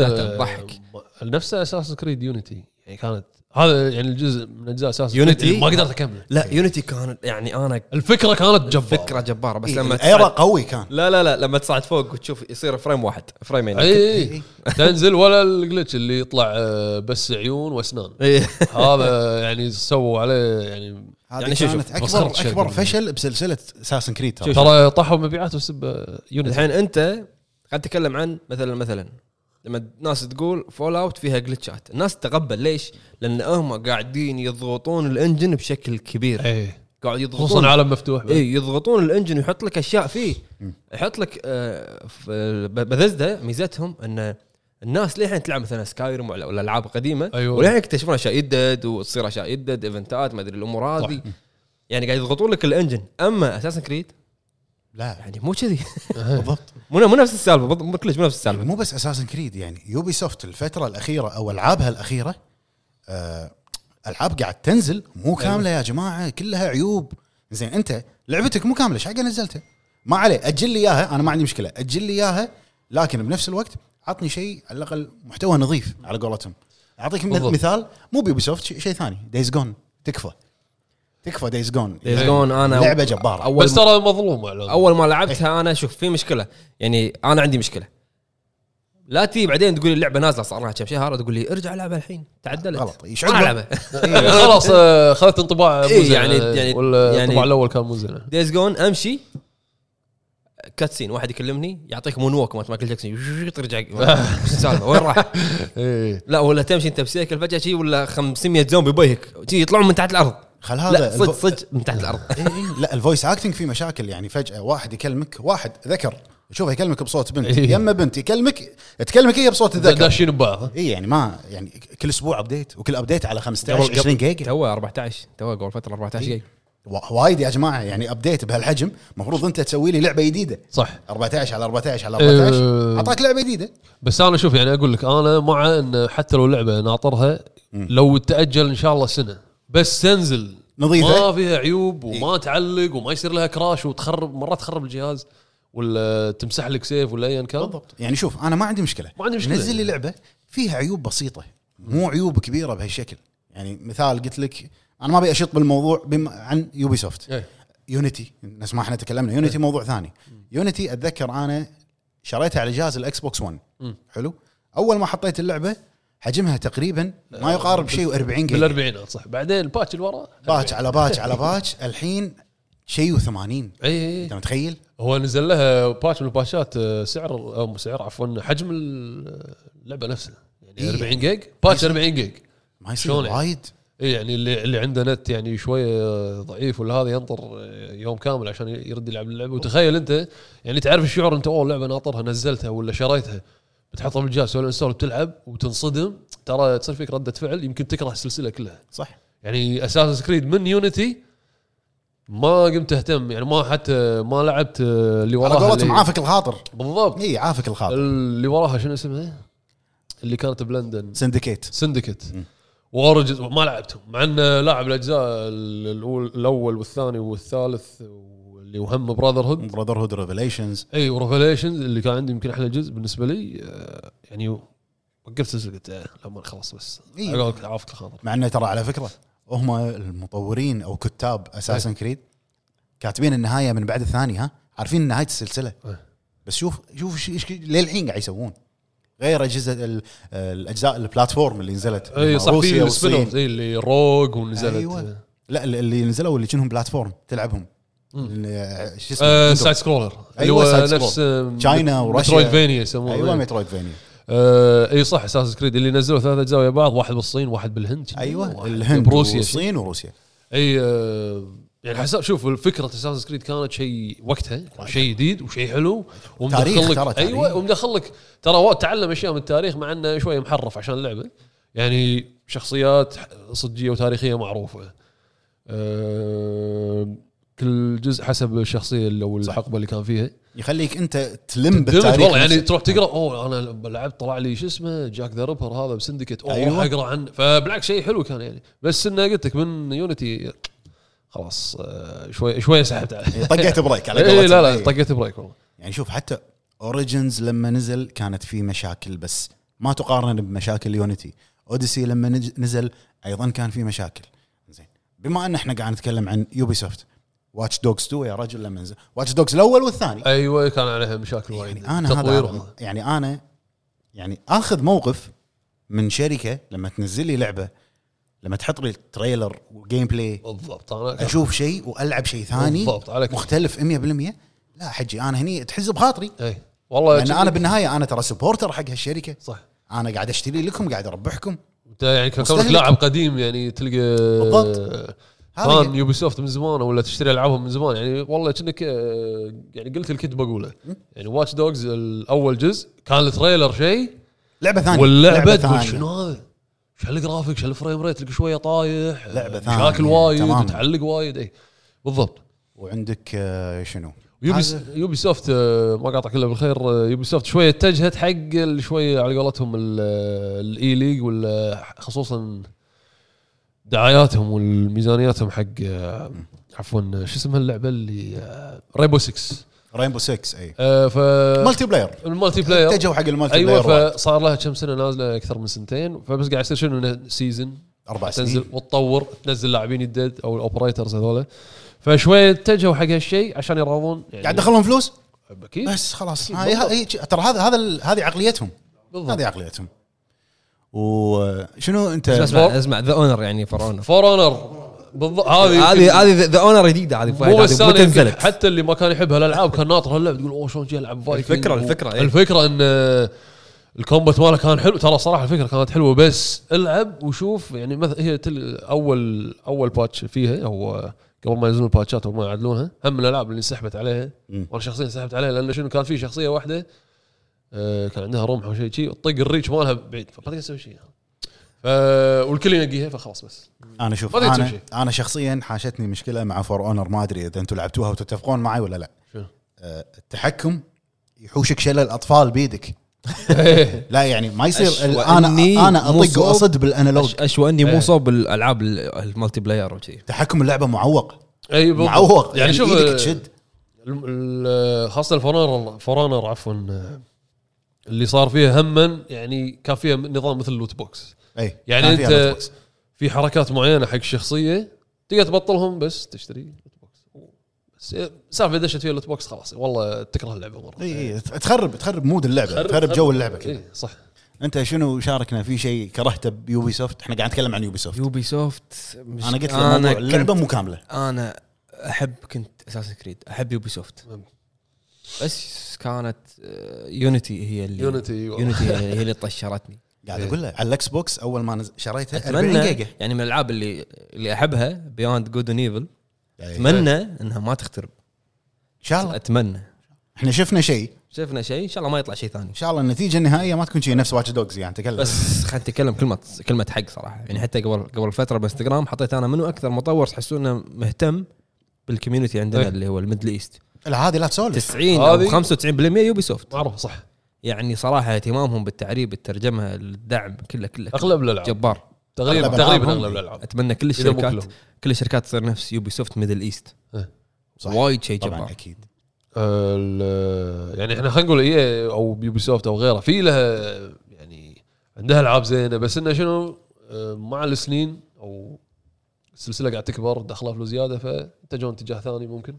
S1: جلتشات- جلتشات تضحك.
S2: نفسها اساس كريد يونيتي يعني كانت هذا يعني الجزء من اجزاء اساس
S1: Unity؟
S2: ما قدرت اكمله
S1: لا يونيتي كانت يعني انا
S2: الفكره كانت جباره
S1: فكره جباره
S3: إيه،
S1: بس لما
S3: ايرا
S1: تصعد
S3: قوي كان
S1: لا لا لا لما تصعد فوق وتشوف يصير فريم واحد فريمين
S2: اي اي تنزل إيه. ولا الجلتش اللي يطلع آه، بس عيون واسنان
S1: إيه.
S2: هذا يعني سووا عليه يعني
S3: هذه
S1: يعني
S3: يعني
S1: شو شوف،
S3: كانت اكبر
S2: بصرت شيء
S3: اكبر
S2: بالنسبة.
S3: فشل بسلسله اساسن كريد ترى.
S2: ترى طاحوا مبيعات بسبب يونت
S1: الحين انت قاعد تتكلم عن مثلا مثلا لما الناس تقول فول اوت فيها جلتشات الناس تتقبل ليش؟ لان هم قاعدين يضغطون الانجن بشكل كبير
S3: إيه.
S2: اي
S1: قاعد يضغطون
S2: خصوصا إيه. عالم مفتوح بعد.
S1: اي يضغطون الانجن ويحط لك اشياء فيه يحط لك آه، بذزدا ميزتهم ان الناس للحين تلعب مثلا سكايرم ولا ولا العاب قديمه
S2: أيوة.
S1: وللحين يكتشفون اشياء يدد وتصير اشياء يدد ايفنتات ما ادري الامور هذه يعني قاعد يضغطون لك الانجن اما اساسا كريد
S3: لا
S1: يعني مو كذي
S3: بالضبط
S1: مو مو نفس السالفه بالضبط، مو كلش مو نفس السالفه
S3: مو بس اساسن كريد يعني يوبي سوفت الفتره الاخيره او العابها الاخيره آه، العاب قاعد تنزل
S1: أيوة.
S3: مو كامله يا جماعه كلها عيوب زين انت لعبتك مو كامله ايش حق نزلتها ما عليه اجل لي اياها انا ما عندي مشكله اجل لي اياها لكن بنفس الوقت عطني شيء على الاقل محتوى نظيف على قولتهم اعطيك
S2: بالضبط.
S3: مثال مو بيوبي سوفت شي- شيء ثاني دايز جون تكفى تكفى دايز جون
S1: Days Gone انا
S3: لعبة جبارة.
S1: اول
S2: بس ترى مظلومه العاب.
S1: اول ما لعبتها انا شوف في مشكله يعني انا عندي مشكله لا تي بعدين تقول لي اللعبه نازله صار لها كم شهر تقول لي ارجع العبها الحين تعدلت
S3: غلط. يشعر
S1: انا
S3: بال-
S1: العبها
S3: إيه.
S2: يعني خلاص آه، اخذت انطباع مو
S1: إيه،
S2: زين
S1: يعني-
S2: آه،
S1: يعني-
S2: ولا
S1: يعني-
S2: الانطباع الاول كان مو زين
S1: دايز جون امشي كاتسين واحد يكلمني يعطيك مون ووك مالت مايكل جاكسون ترجع وش السالفه وين راح؟
S2: ايه
S1: لا ولا تمشي انت بسيكل فجاه شي ولا 500 زومبي بيهك شي يطلعون من تحت الارض
S3: خل
S1: لا
S3: هذا
S1: صدق
S3: الب-
S1: صدق من تحت الارض
S3: إي إي، إيه، لا الفويس اكتنج في مشاكل يعني فجاه واحد يكلمك واحد ذكر شوفه يكلمك بصوت بنت
S1: إيه.
S2: إي.
S3: يما بنت يكلمك تكلمك هي بصوت الذكر
S2: داشين ببعض
S3: اي يعني ما يعني كل اسبوع ابديت وكل ابديت على 15
S1: قبل-
S3: 20 جيجا
S1: تو 14 تو قبل فتره 14
S3: إيه.
S1: جيجا
S3: وا- وايد يا جماعه يعني ابديت بهالحجم المفروض انت تسوي لي لعبه جديده
S2: صح
S3: 14 على 14 على
S2: إيه.
S3: 14 اعطاك لعبه جديده
S2: بس انا شوف يعني اقول لك انا مع ان حتى لو لعبه ناطرها لو تاجل ان شاء الله سنه بس تنزل
S3: نظيفة. إيه.
S2: ما فيها عيوب وما تعلق وما يصير لها كراش وتخرب مرات تخرب الجهاز ولا تمسح لك سيف ولا ايا كان بالضبط
S3: يعني شوف انا ما عندي مشكله
S2: ما عندي مشكلة.
S3: نزل لي لعبه فيها عيوب بسيطه مو عيوب كبيره بهالشكل يعني مثال قلت لك انا ما ابي اشط بالموضوع بما عن يوبي سوفت
S2: إيه.
S3: يونيتي نفس ما احنا تكلمنا يونيتي موضوع ثاني يونيتي اتذكر انا شريتها على جهاز الاكس بوكس 1 حلو اول ما حطيت اللعبه حجمها تقريبا ما يقارب شيء و40
S2: بال
S3: جيجا
S2: 40 صح بعدين الباتش اللي ورا
S3: باتش على باتش على باتش الحين شيء و80
S2: اي
S3: انت متخيل؟
S2: إيه، هو نزل لها باتش من الباتشات آه، سعر او مو سعر عفوا حجم اللعبه نفسها يعني
S3: إيه.
S2: 40 جيج باتش 40 جيج
S3: ما يصير
S2: شلون يعني؟
S3: وايد
S2: اي يعني اللي اللي عنده نت يعني شويه ضعيف ولا هذا ينطر يوم كامل عشان يرد يلعب اللعبه وتخيل انت يعني تعرف الشعور انت اول لعبه ناطرها نزلتها ولا شريتها بتحطها بالجهاز سوي انستول بتلعب وتنصدم ترى تصير فيك رده فعل يمكن تكره السلسله كلها
S3: صح
S2: يعني اساس كريد من يونيتي ما قمت اهتم يعني ما حتى ما لعبت اللي
S3: على
S2: وراها
S3: قولتهم
S2: اللي
S3: عافك الخاطر
S2: بالضبط
S3: اي عافك الخاطر
S2: اللي وراها شنو اسمها؟ اللي كانت بلندن
S3: سندكيت
S2: سندكت واورجز ما لعبتهم مع انه لاعب الاجزاء الأول, الاول والثاني والثالث واللي وهم براذر هود
S3: براذر هود ريفيليشنز
S2: اي وريفليشنز اللي كان عندي يمكن احلى جزء بالنسبه لي آه، يعني وقفت السلسله قلت آه، لما خلاص بس
S3: إي.
S2: على قولك عافك الخاطر
S3: مع انه ترى على فكره هم المطورين او كتاب اساسن
S2: إيه.
S3: كريد كاتبين النهايه من بعد الثاني ها عارفين نهايه السلسله
S2: إيه.
S3: بس شوف شوف إيش- ايش للحين قاعد يسوون غير اجهزه ال- الاجزاء البلاتفورم اللي نزلت
S2: اي إيه، صح في
S3: روسيا
S2: السبين
S3: والصين.
S2: اوف اي اللي روج ونزلت
S3: أيوة. لا اللي- اللي نزلوا اللي كأنهم بلاتفورم تلعبهم اللي- شو
S2: آه،
S3: اسمه
S2: سايد سكرولر اللي
S3: أيوة،
S2: هو
S3: سايد سكرول.
S2: نفس آه،
S3: تشاينا ورشيا.
S2: مترويد فينيا يسمونه
S3: ايوه
S2: أيوة.
S3: مترويد فينيا
S2: آه، اي صح اساس كريد اللي نزلوا ثلاث اجزاء ويا بعض واحد بالصين واحد بالهند
S3: ايوه
S2: واحد
S3: الهند
S2: بروسيا
S3: والصين وروسيا
S2: اي آه، يعني حسب شوف الفكره اساس كريد كانت شيء وقتها شيء جديد وشيء حلو
S3: تاريخ،
S2: ومدخل
S3: ترى
S2: لك
S3: تاريخ.
S2: ايوه ومدخل لك ترى هو تعلم اشياء من التاريخ مع انه شويه محرف عشان اللعبه يعني شخصيات صجيه وتاريخيه معروفه آه، كل جزء حسب الشخصيه اللي- او الحقبه اللي كان فيها
S3: يخليك انت تلم
S2: دمج
S3: بالتاريخ
S2: والله يعني
S3: نفسه.
S2: تروح تقرا اوه انا لما لعبت طلع لي شو اسمه جاك ذا ريبر هذا بسندكيت اوه
S3: أيوة.
S2: أيوة. اقرا عنه فبالعكس شيء حلو كان يعني بس انه قلت لك من يونيتي خلاص آه، شوي شوي سحبت عليه
S3: طقيت بريك على
S2: اي يعني إيه، لا
S3: قولتهم. إيه.
S2: لا
S3: إي.
S2: طقيت بريك والله
S3: يعني شوف حتى اوريجنز لما نزل كانت في مشاكل بس ما تقارن بمشاكل يونيتي اوديسي لما نج- نزل ايضا كان في مشاكل زين بما ان احنا قاعد نتكلم عن يوبي سوفت واتش دوجز 2 يا رجل لما نزل واتش دوجز الاول والثاني
S2: ايوه كان عليها مشاكل وايد
S3: يعني انا هذا
S2: تطويرها
S3: يعني انا يعني اخذ موقف من شركه لما تنزل لي لعبه لما تحط لي تريلر وجيم بلاي
S2: بالضبط انا
S3: اشوف شيء والعب شيء ثاني
S2: بالضبط، عليك.
S3: مختلف 100% لا حجي انا هني تحز بخاطري
S2: اي إيه، والله
S3: لان
S2: جد-
S3: انا بالنهايه انا ترى سبورتر حق هالشركه
S2: صح
S3: انا قاعد اشتري لكم قاعد اربحكم
S2: انت يعني كونك
S3: مستهلك.
S2: لاعب قديم يعني تلقى
S3: بالضبط. هذا
S2: فان
S3: هي-
S2: يوبي سوفت من زمان ولا تشتري العابهم من زمان يعني والله كأنك آه، يعني قلت الكت بقوله يعني واتش دوجز الاول جزء كان التريلر شيء
S3: لعبه ثانيه
S2: واللعبه تقول
S3: ثانية.
S2: شنو هذا؟ شو هالجرافيك شو هالفريم ريت تلقى شويه طايح
S3: لعبة
S2: آه،
S3: ثانية،
S2: مشاكل وايد
S3: تماماً.
S2: تعلق وايد اي بالضبط
S3: وعندك آه، شنو
S2: يوبي
S3: هذا-
S2: يوبي سوفت آه، ما قاطع كله بالخير آه، يوبي سوفت شويه اتجهت حق ال- شويه على قولتهم ال- آه، الاي ليج ولا خصوصا دعاياتهم والميزانياتهم حق آه، عفوا آه، شو اسمها اللعبه اللي ريبو 6
S3: رينبو 6 اي
S2: آه، ف
S3: مالتي بلاير
S2: المالتي بلاير
S3: اتجهوا حق المالتي
S2: ايوه
S3: بلاير وايد.
S2: فصار لها كم سنه نازله اكثر من سنتين فبس قاعد يصير شنو إنه سيزون
S3: اربع
S2: تنزل
S3: سنين
S2: وتطور تنزل لاعبين جدد او الاوبريترز هذول فشوي اتجهوا حق هالشيء عشان يراضون يعني
S3: قاعد دخلهم فلوس
S2: اكيد
S3: بس خلاص
S2: أيوه، بالضبط.
S3: هاي هاي ترى هذا هذا ال- هذه عقليتهم
S2: بالضبط
S3: هذه عقليتهم وشنو انت
S1: اسمع اسمع ذا اونر يعني فور اونر
S2: فور اونر بالضبط هذه
S1: هذه هذه ذا اونر جديده هذه
S2: مو بس
S1: هذه متى
S2: أنا يمكن
S1: نزلت
S2: حتى اللي ما كان يحب هالالعاب كان ناطر هاللعب تقول اوه شلون جي العب فايكنج
S1: الفكرة-
S2: و-
S1: الفكرة، إيه.
S2: الفكره ان آه، الكومبات ماله كان حلو ترى صراحه الفكره كانت حلوه بس العب وشوف يعني مثلا هي تل اول اول باتش فيها هو قبل ما ينزلون الباتشات وما يعدلونها هم الالعاب اللي انسحبت عليها
S3: مم.
S2: وانا شخصيا انسحبت عليها لان شنو كان في شخصيه واحده آه، كان عندها رمح او شيء تطق الريتش مالها بعيد فما تقدر تسوي شيء ف- والكل ينقيها فخلاص بس
S3: انا شوف
S2: ما تقدر تسوي
S3: انا انا شخصيا حاشتني مشكله مع فور اونر ما ادري اذا انتم لعبتوها وتتفقون معي ولا لا
S2: شنو؟
S3: آه، التحكم يحوشك شلل الاطفال بيدك لا يعني ما يصير ال- انا
S1: أشوأني
S3: انا
S1: مصاب.
S3: اطق واصد بالانالوج
S1: أش- اشوى اني
S2: إيه.
S1: مو صوب بالالعاب ال- المالتي بلاير وشي
S3: تحكم اللعبه معوق
S2: اي بالضبط.
S3: معوق يعني شوف ايدك
S2: آه،
S3: تشد
S2: الم- ال- خاصه الفرانر فرانر عفوا اللي صار فيها هما يعني كان فيها نظام مثل اللوت بوكس
S3: اي
S2: يعني
S3: كان فيها
S2: انت
S3: Xbox.
S2: في حركات معينه حق الشخصيه تقدر تبطلهم بس تشتري لوت بوكس بس إيه، سالفه دشت فيها لوت بوكس خلاص والله تكره اللعبه مره
S3: اي اي تخرب تخرب مود اللعبه تخرب إيه، جو اللعبه
S2: اي إيه، صح
S3: انت شنو شاركنا في شيء كرهته بيوبي سوفت احنا قاعد نتكلم عن يوبي سوفت
S1: يوبي سوفت مش
S3: انا قلت لك الموضوع
S1: كنت-
S3: اللعبه مو كامله
S1: انا احب كنت اساسا كريد احب يوبي سوفت
S2: مم.
S1: بس كانت يونيتي هي اللي
S2: يونيتي
S1: يونيتي هي هي اللي طشرتني
S3: قاعد
S2: إيه.
S3: اقول له على الاكس بوكس اول ما نز- شريتها 40
S1: اتمنى
S3: جيجا
S1: يعني من الالعاب اللي اللي احبها بياند جود اند ايفل
S3: إيه.
S1: اتمنى انها ما تخترب
S3: ان شاء الله
S1: اتمنى
S3: احنا شفنا شيء
S1: شفنا شيء ان شاء الله ما يطلع شيء ثاني
S3: ان شاء الله النتيجه النهائيه ما تكون شيء نفس واتش دوجز يعني تكلم بس
S1: بس خلينا نتكلم كلمه كلمه حق صراحه يعني حتى قبل قبل فتره بانستغرام حطيت انا منو اكثر مطور تحسون انه مهتم بالكوميونتي عندنا
S2: إيه.
S1: اللي هو الميدل ايست
S3: لا هذه لا تسولف
S1: 90 او
S2: هذه-
S1: 95% يوبي سوفت
S2: معروف صح
S1: يعني صراحه اهتمامهم بالتعريب الترجمه الدعم كله كله
S2: اغلب الالعاب
S1: جبار
S2: تقريبا
S3: أغلب
S2: تقريبا
S3: ألعابهم.
S2: اغلب الالعاب
S1: اتمنى كل
S2: إذا مو
S1: الشركات
S2: كلهم.
S1: كل الشركات تصير نفس يوبي سوفت ميدل ايست
S2: إيه.
S3: صح.
S1: وايد شيء
S3: طبعا
S1: جبار
S3: اكيد
S2: ال- يعني احنا خلينا نقول اي او بيوبي سوفت او غيره في لها يعني عندها العاب زينه بس انه شنو اه، مع السنين او السلسله قاعد تكبر دخلها فلوس زياده فاتجهون اتجاه ثاني ممكن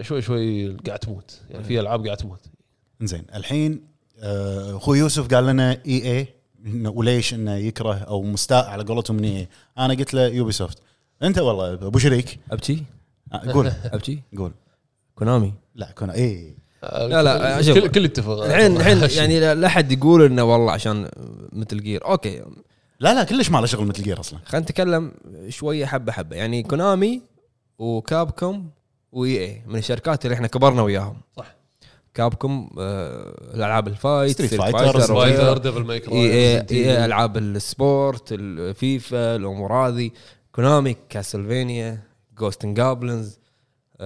S2: شوي شوي قاعد تموت يعني في العاب قاعد تموت
S3: زين الحين آه، اخوي يوسف قال لنا اي اي وليش انه يكره او مستاء على قولتهم من اي انا قلت له يوبي سوفت انت والله ابو شريك
S1: ابكي
S3: آه، قول
S1: ابكي
S3: قول
S1: كونامي
S3: لا كنا اي
S1: لا، لا،
S2: الكل-
S1: شوف.
S2: آه، كل اتفق
S1: الحين الحين يعني لا- لا احد يقول انه والله عشان مثل جير اوكي
S3: لا لا كلش ما له شغل مثل جير اصلا
S1: خلينا نتكلم شويه حبه حبه يعني كونامي وكابكوم واي اي من الشركات اللي احنا كبرنا وياهم
S2: صح.
S1: كابكوم آه الالعاب الفايت
S3: Street Fighter،
S2: سبايدر ديفل ماي
S1: اي
S2: كراي
S1: اي
S2: Resident
S1: اي
S2: Evil.
S1: العاب السبورت الفيفا الامور هذه كونامي كاسلفينيا جوست اند جابلنز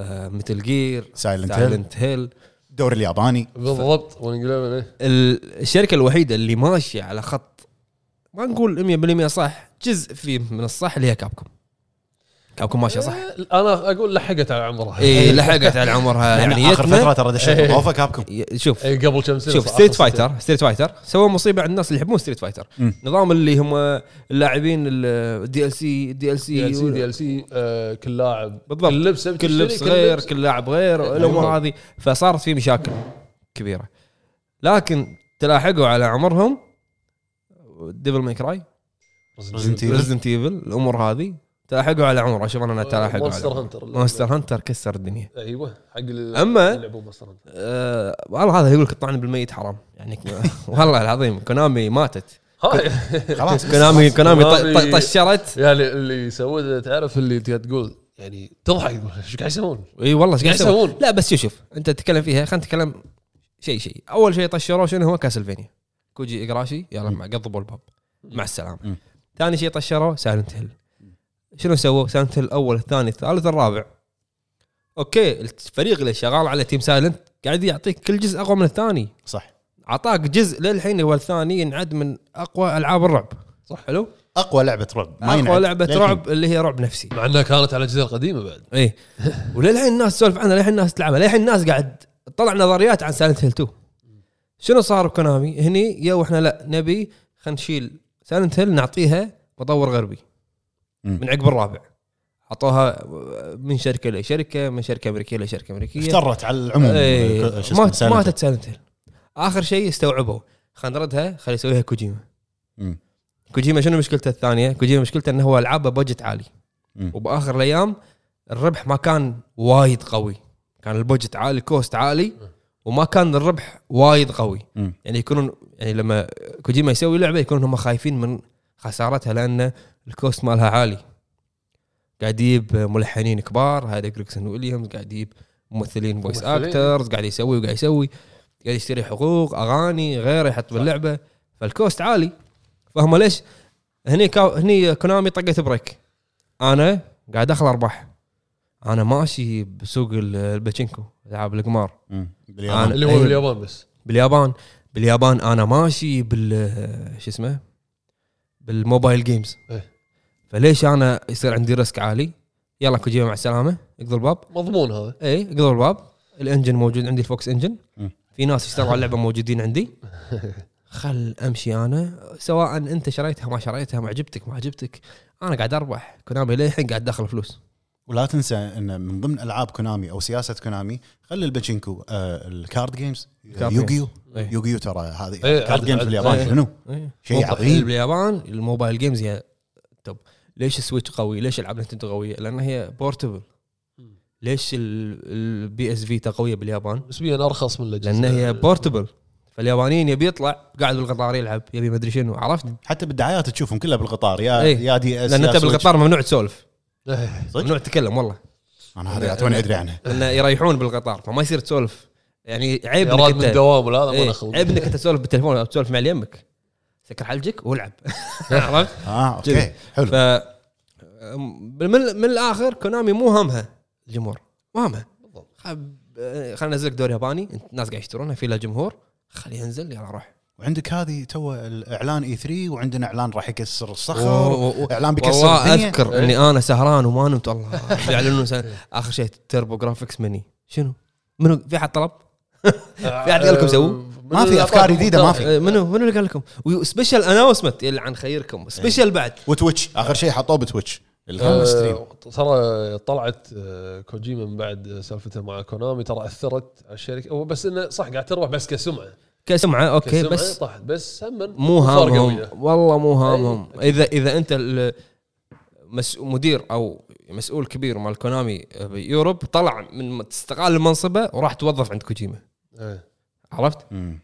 S1: مثل جير
S3: سايلنت هيل
S1: سايلنت هيل
S3: الدوري الياباني
S2: بالضبط والانجليزي ايه.
S1: ال- الشركه الوحيده اللي ماشيه على خط ما نقول 100% صح جزء فيه من الصح اللي هي كابكوم كابكم ماشيه صح؟
S2: انا اقول لحقت على عمرها
S1: اي لحقت على عمرها يعني
S3: يعني اخر فتره
S1: يتنا
S3: ترى دشيت
S2: إيه.
S3: بالطوفه كابكم
S1: ي- شوف
S2: إيه، قبل كم سنه
S1: شوف
S2: صح،
S1: ستريت
S2: آخر
S1: فايتر ستريت فايتر سووا مصيبه عند الناس اللي يحبون ستريت فايتر
S3: مم.
S1: نظام اللي هم اللاعبين الدي ال سي دي ال
S2: دي ال سي دي
S1: سي
S2: ال سي آه، كل لاعب
S1: أيوة. بالضبط.
S2: كل لبس
S1: كل لبس غير كل لاعب غير الامور
S2: أيوة.
S1: هذه فصارت في مشاكل كبيره لكن تلاحقوا على عمرهم ديفل ماي كراي
S3: Resident Evil.
S1: ريزدنت ايفل الامور هذه تلاحقوا على عمره شوف انا تلاحقوا
S2: مونستر
S1: على
S2: هانتر
S1: مونستر هانتر كسر الدنيا
S2: ايوه حق ال-
S1: أما-
S2: اللي يلعبون مونستر هانتر
S1: أه والله هذا يقول لك الطعن بالميت حرام يعني والله العظيم كونامي ماتت
S2: هاي
S3: خلاص
S1: كونامي كونامي ط-
S2: كونامي-
S1: ط- طشرت
S2: يعني اللي سووه ده تعرف اللي تقعد تقول يعني تضحك تقول ايش قاعد يسوون؟
S1: اي والله ايش قاعد
S2: قاعد
S1: يسوون؟
S2: يسوون؟
S1: لا بس شوف شوف انت تتكلم فيها خلينا نتكلم شيء شيء اول شيء طشروه شنو هو كاسلفينيا كوجي اقراشي يلا مع قضبوا الباب مع السلامه
S3: مم.
S1: ثاني شيء طشروه سايلنت هيل شنو سووا؟ سايلنت هيل الاول الثاني الثالث الرابع اوكي الفريق اللي شغال على تيم سايلنت قاعد يعطيك كل جزء اقوى من الثاني
S3: صح
S1: اعطاك جزء للحين هو الثاني ينعد من اقوى العاب الرعب صح حلو؟
S3: اقوى لعبه رعب ما
S1: اقوى
S3: ينعد.
S1: لعبه
S3: للحين.
S1: رعب اللي هي رعب نفسي
S2: مع انها كانت على الاجزاء القديمه بعد
S1: ايه وللحين الناس تسولف عنها للحين الناس تلعبها للحين الناس قاعد تطلع نظريات عن سايلنت هيل 2 شنو صار بكونامي هني يو احنا لا نبي خلينا نشيل سايلنت هيل نعطيها مطور غربي
S3: مم.
S1: من عقب الرابع عطوها من شركه لشركه من شركه امريكيه لشركه امريكيه
S3: افترت على العموم
S1: ايه
S3: ك- شو اسمه،
S1: مات
S3: Silent Hill.
S1: ماتت سايلنت هيل اخر شيء استوعبوا خلينا نردها خلي يسويها كوجيما
S3: مم.
S1: كوجيما شنو مشكلته الثانيه؟ كوجيما مشكلته انه هو العابه بوجت عالي
S3: مم.
S1: وباخر الايام الربح ما كان وايد قوي كان البوجت عالي كوست عالي وما كان الربح وايد قوي
S3: مم.
S1: يعني يكونون يعني لما كوجيما يسوي لعبه يكونون هم خايفين من خسارتها لان الكوست مالها عالي قاعد يجيب ملحنين كبار هذا جريكسون ويليامز قاعد يجيب ممثلين فويس
S2: ممثلين.
S1: اكترز قاعد يسوي وقاعد يسوي قاعد يشتري حقوق اغاني غيره يحط باللعبه فالكوست عالي فهم ليش هني كا... هني كونامي طقت بريك انا قاعد اخل ارباح انا ماشي بسوق ال- الباتشينكو العاب القمار
S3: مم.
S1: أنا-
S3: باليابان
S2: اللي هو
S1: أيوة.
S2: باليابان بس
S1: باليابان باليابان انا ماشي بال شو اسمه بالموبايل جيمز
S2: إيه.
S1: فليش انا يصير عندي ريسك عالي يلا كوجيما مع السلامه اقضي الباب
S2: مضمون هذا
S1: اي اقضي الباب الانجن موجود عندي الفوكس انجن
S3: مم.
S1: في ناس اشتغلوا على اللعبه موجودين عندي خل امشي انا سواء انت شريتها ما شريتها ما عجبتك ما عجبتك انا قاعد اربح كونامي للحين قاعد داخل فلوس
S3: ولا تنسى ان من ضمن العاب كونامي او سياسه كونامي خلي الباتشينكو آه الكارد جيمز
S1: الكارد
S3: يوغيو
S1: إيه.
S3: يوغيو ترى هذه
S2: إيه،
S3: كارد
S2: عد-
S3: جيمز
S2: عد-
S3: باليابان
S1: إيه.
S3: شنو؟
S1: إيه.
S3: شيء
S1: مو-
S3: عظيم.
S1: باليابان الموبايل جيمز هي طب ليش السويتش قوي؟ ليش العاب نتندو قويه؟ لان هي بورتبل ليش البي اس فيتا قويه باليابان؟
S2: نسبيا ارخص من الاجهزه
S1: لان هي بورتبل فاليابانيين يبي يطلع قاعد بالقطار يلعب يبي ما ادري شنو عرفت؟
S3: حتى بالدعايات تشوفهم كلها بالقطار يا
S1: إيه.
S3: يا دي اس
S1: لان
S3: يا
S1: انت
S3: سويتش.
S1: بالقطار ممنوع تسولف
S2: إيه.
S3: صدق؟
S1: ممنوع تتكلم والله
S3: انا هذه توني ادري عنها
S1: لانه يريحون بالقطار فما يصير تسولف يعني عيب
S2: يا راد
S1: انك
S2: من
S1: انت
S2: الدوام ولا هذا ما
S1: إيه،
S2: ناخذ
S1: عيب انك انت تسولف بالتليفون او تسولف مع اللي يمك سكر حلجك والعب عرفت؟
S3: اه
S1: كذا.
S3: اوكي حلو
S1: ف من, من الاخر كونامي مو همها الجمهور مو همها
S2: بالضبط.
S1: خلينا ننزل لك دور ياباني الناس قاعد يشترونها في له جمهور خليه ينزل يلا روح
S3: وعندك هذه تو الاعلان اي 3 وعندنا اعلان راح يكسر
S1: و- و-
S3: الصخر اعلان بيكسر
S1: والله
S3: الدنيا
S1: اذكر اني انا سهران وما نمت والله يعلنون سهل. اخر شيء تربو جرافيكس مني شنو؟ منو في احد طلب؟ في أحد قال لكم سووا؟
S2: آه،
S3: ما في أفكار جديدة، ما في.
S1: آه، منو منو اللي قال لكم؟ وسبيشل اناونسمنت اللي عن خيركم سبيشل بعد
S3: وتويتش اخر شيء حطوه بتويتش
S2: آه،
S3: الستريم
S2: ترى طلعت آه، كوجيما من بعد سالفته مع كونامي ترى اثرت على الشركه هو بس انه صح قاعد تربح بس كسمعه
S1: كسمعه اوكي
S2: كسمعه
S1: بس
S2: طاحت بس هم
S1: مو هامهم والله مو هامهم
S2: أي،
S1: اذا اذا انت ال- مس- مدير او مسؤول كبير مال كونامي بيوروب طلع من استقال منصبه وراح توظف عند كوجيما عرفت؟
S3: مم.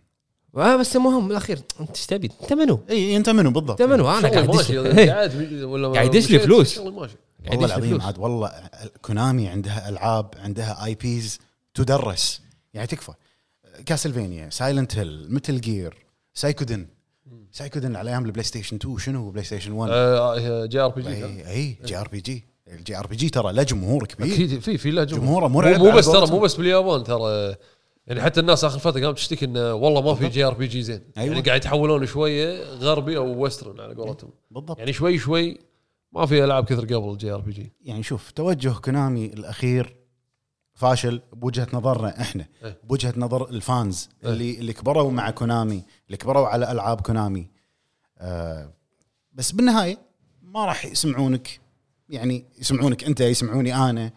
S1: آه بس مهم بالاخير انت ايش تبي؟ انت منو؟
S3: اي انت منو بالضبط
S1: انت منو؟ انا قاعد أدش- إيه، قاعد يدش لي فلوس. قاعد
S3: والله
S1: يدش لي
S3: العظيم
S1: فلوس.
S3: عاد والله كونامي عندها العاب عندها اي بيز تدرس يعني تكفى كاسلفينيا سايلنت هيل متل جير سايكودن سايكودن على ايام البلاي ستيشن 2 شنو بلاي ستيشن
S1: آه،
S3: 1
S2: آه، جي ار بي جي
S3: اي اي جي ار بي جي الجي ار بي جي ترى له جمهور كبير
S2: اكيد في في له جمهور
S3: جمهوره
S2: مو
S3: مرعب
S2: مو
S3: على
S2: بس ترى
S3: قولتهم.
S2: مو بس باليابان ترى يعني حتى الناس اخر فتره قامت تشتكي انه والله ما في جي ار بي جي زين
S3: أيوة.
S2: يعني قاعد يتحولون شويه غربي او ويسترن على قولتهم
S3: بالضبط
S2: يعني شوي شوي ما في العاب كثر قبل الجي ار بي جي
S3: يعني شوف توجه كونامي الاخير فاشل بوجهه نظرنا احنا
S2: إيه.
S3: بوجهه نظر الفانز
S2: إيه.
S3: اللي اللي كبروا مع كونامي اللي كبروا على العاب كونامي آه بس بالنهايه ما راح يسمعونك يعني يسمعونك انت يسمعوني انا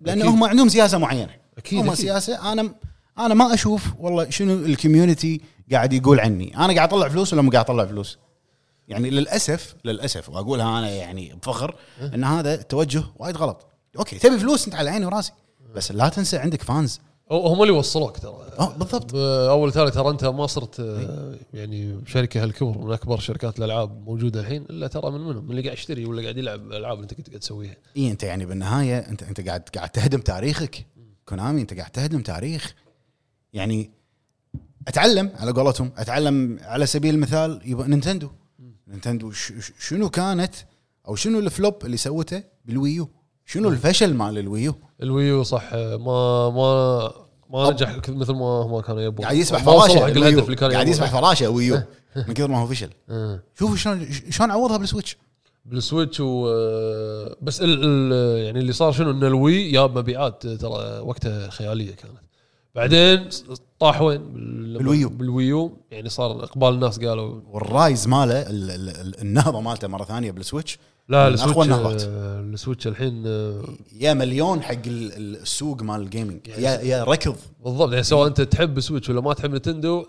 S3: لان
S2: أكيد.
S3: هم عندهم سياسه معينه
S2: أكيد،
S3: هم
S2: أكيد.
S3: سياسه انا انا ما اشوف والله شنو الكوميونتي قاعد يقول عني انا قاعد اطلع فلوس ولا مو قاعد اطلع فلوس يعني للاسف للاسف واقولها انا يعني بفخر
S2: أه.
S3: ان هذا توجه وايد غلط اوكي تبي فلوس انت على عيني وراسي
S2: أه.
S3: بس لا تنسى عندك فانز
S2: أو- هم اللي وصلوك ترى
S3: اه بالضبط إيه.
S2: اول تالي ترى انت ما صرت آه، يعني شركه هالكبر من اكبر شركات الالعاب موجوده الحين الا ترى من منهم من اللي قاعد يشتري ولا قاعد يلعب الالعاب اللي انت كنت قاعد تسويها
S3: اي انت يعني بالنهايه انت انت قاعد قاعد تهدم تاريخك كونامي انت قاعد تهدم تاريخ يعني اتعلم على قولتهم اتعلم على سبيل المثال يبقى نينتندو نينتندو ش- ش- شنو كانت او شنو الفلوب اللي سوته بالويو شنو الفشل مال الويو
S2: الويو صح آه، ما ما ما نجح ك- مثل ما هم كانوا يبون
S3: قاعد يسبح
S2: ما وصلوا
S3: فراشه
S2: حق
S3: الويو.
S2: الهدف اللي كانوا
S3: قاعد
S2: يبونه.
S3: يسبح فراشه ويو من كثر ما هو فشل
S2: آه.
S3: شوفوا شلون شلون عوضها بالسويتش
S2: بالسويتش و آه، بس ال... ال... يعني اللي صار شنو ان الوي جاب مبيعات آه، ترى وقتها خياليه كانت بعدين ص- طاح وين؟ بال-
S3: بالويو.
S2: بالويو يعني صار اقبال الناس قالوا
S3: والرايز ماله ال- ال- ال- النهضه مالته مره ثانيه بالسويتش
S2: لا
S3: من أقوى
S2: السويتش
S3: النهضات.
S2: آه، السويتش الحين آه،
S3: يا مليون حق ال- ال- السوق مال الجيمنج
S2: يعني-
S3: يا يا ركض
S2: بالضبط يعني سواء انت تحب سويتش ولا ما تحب نتندو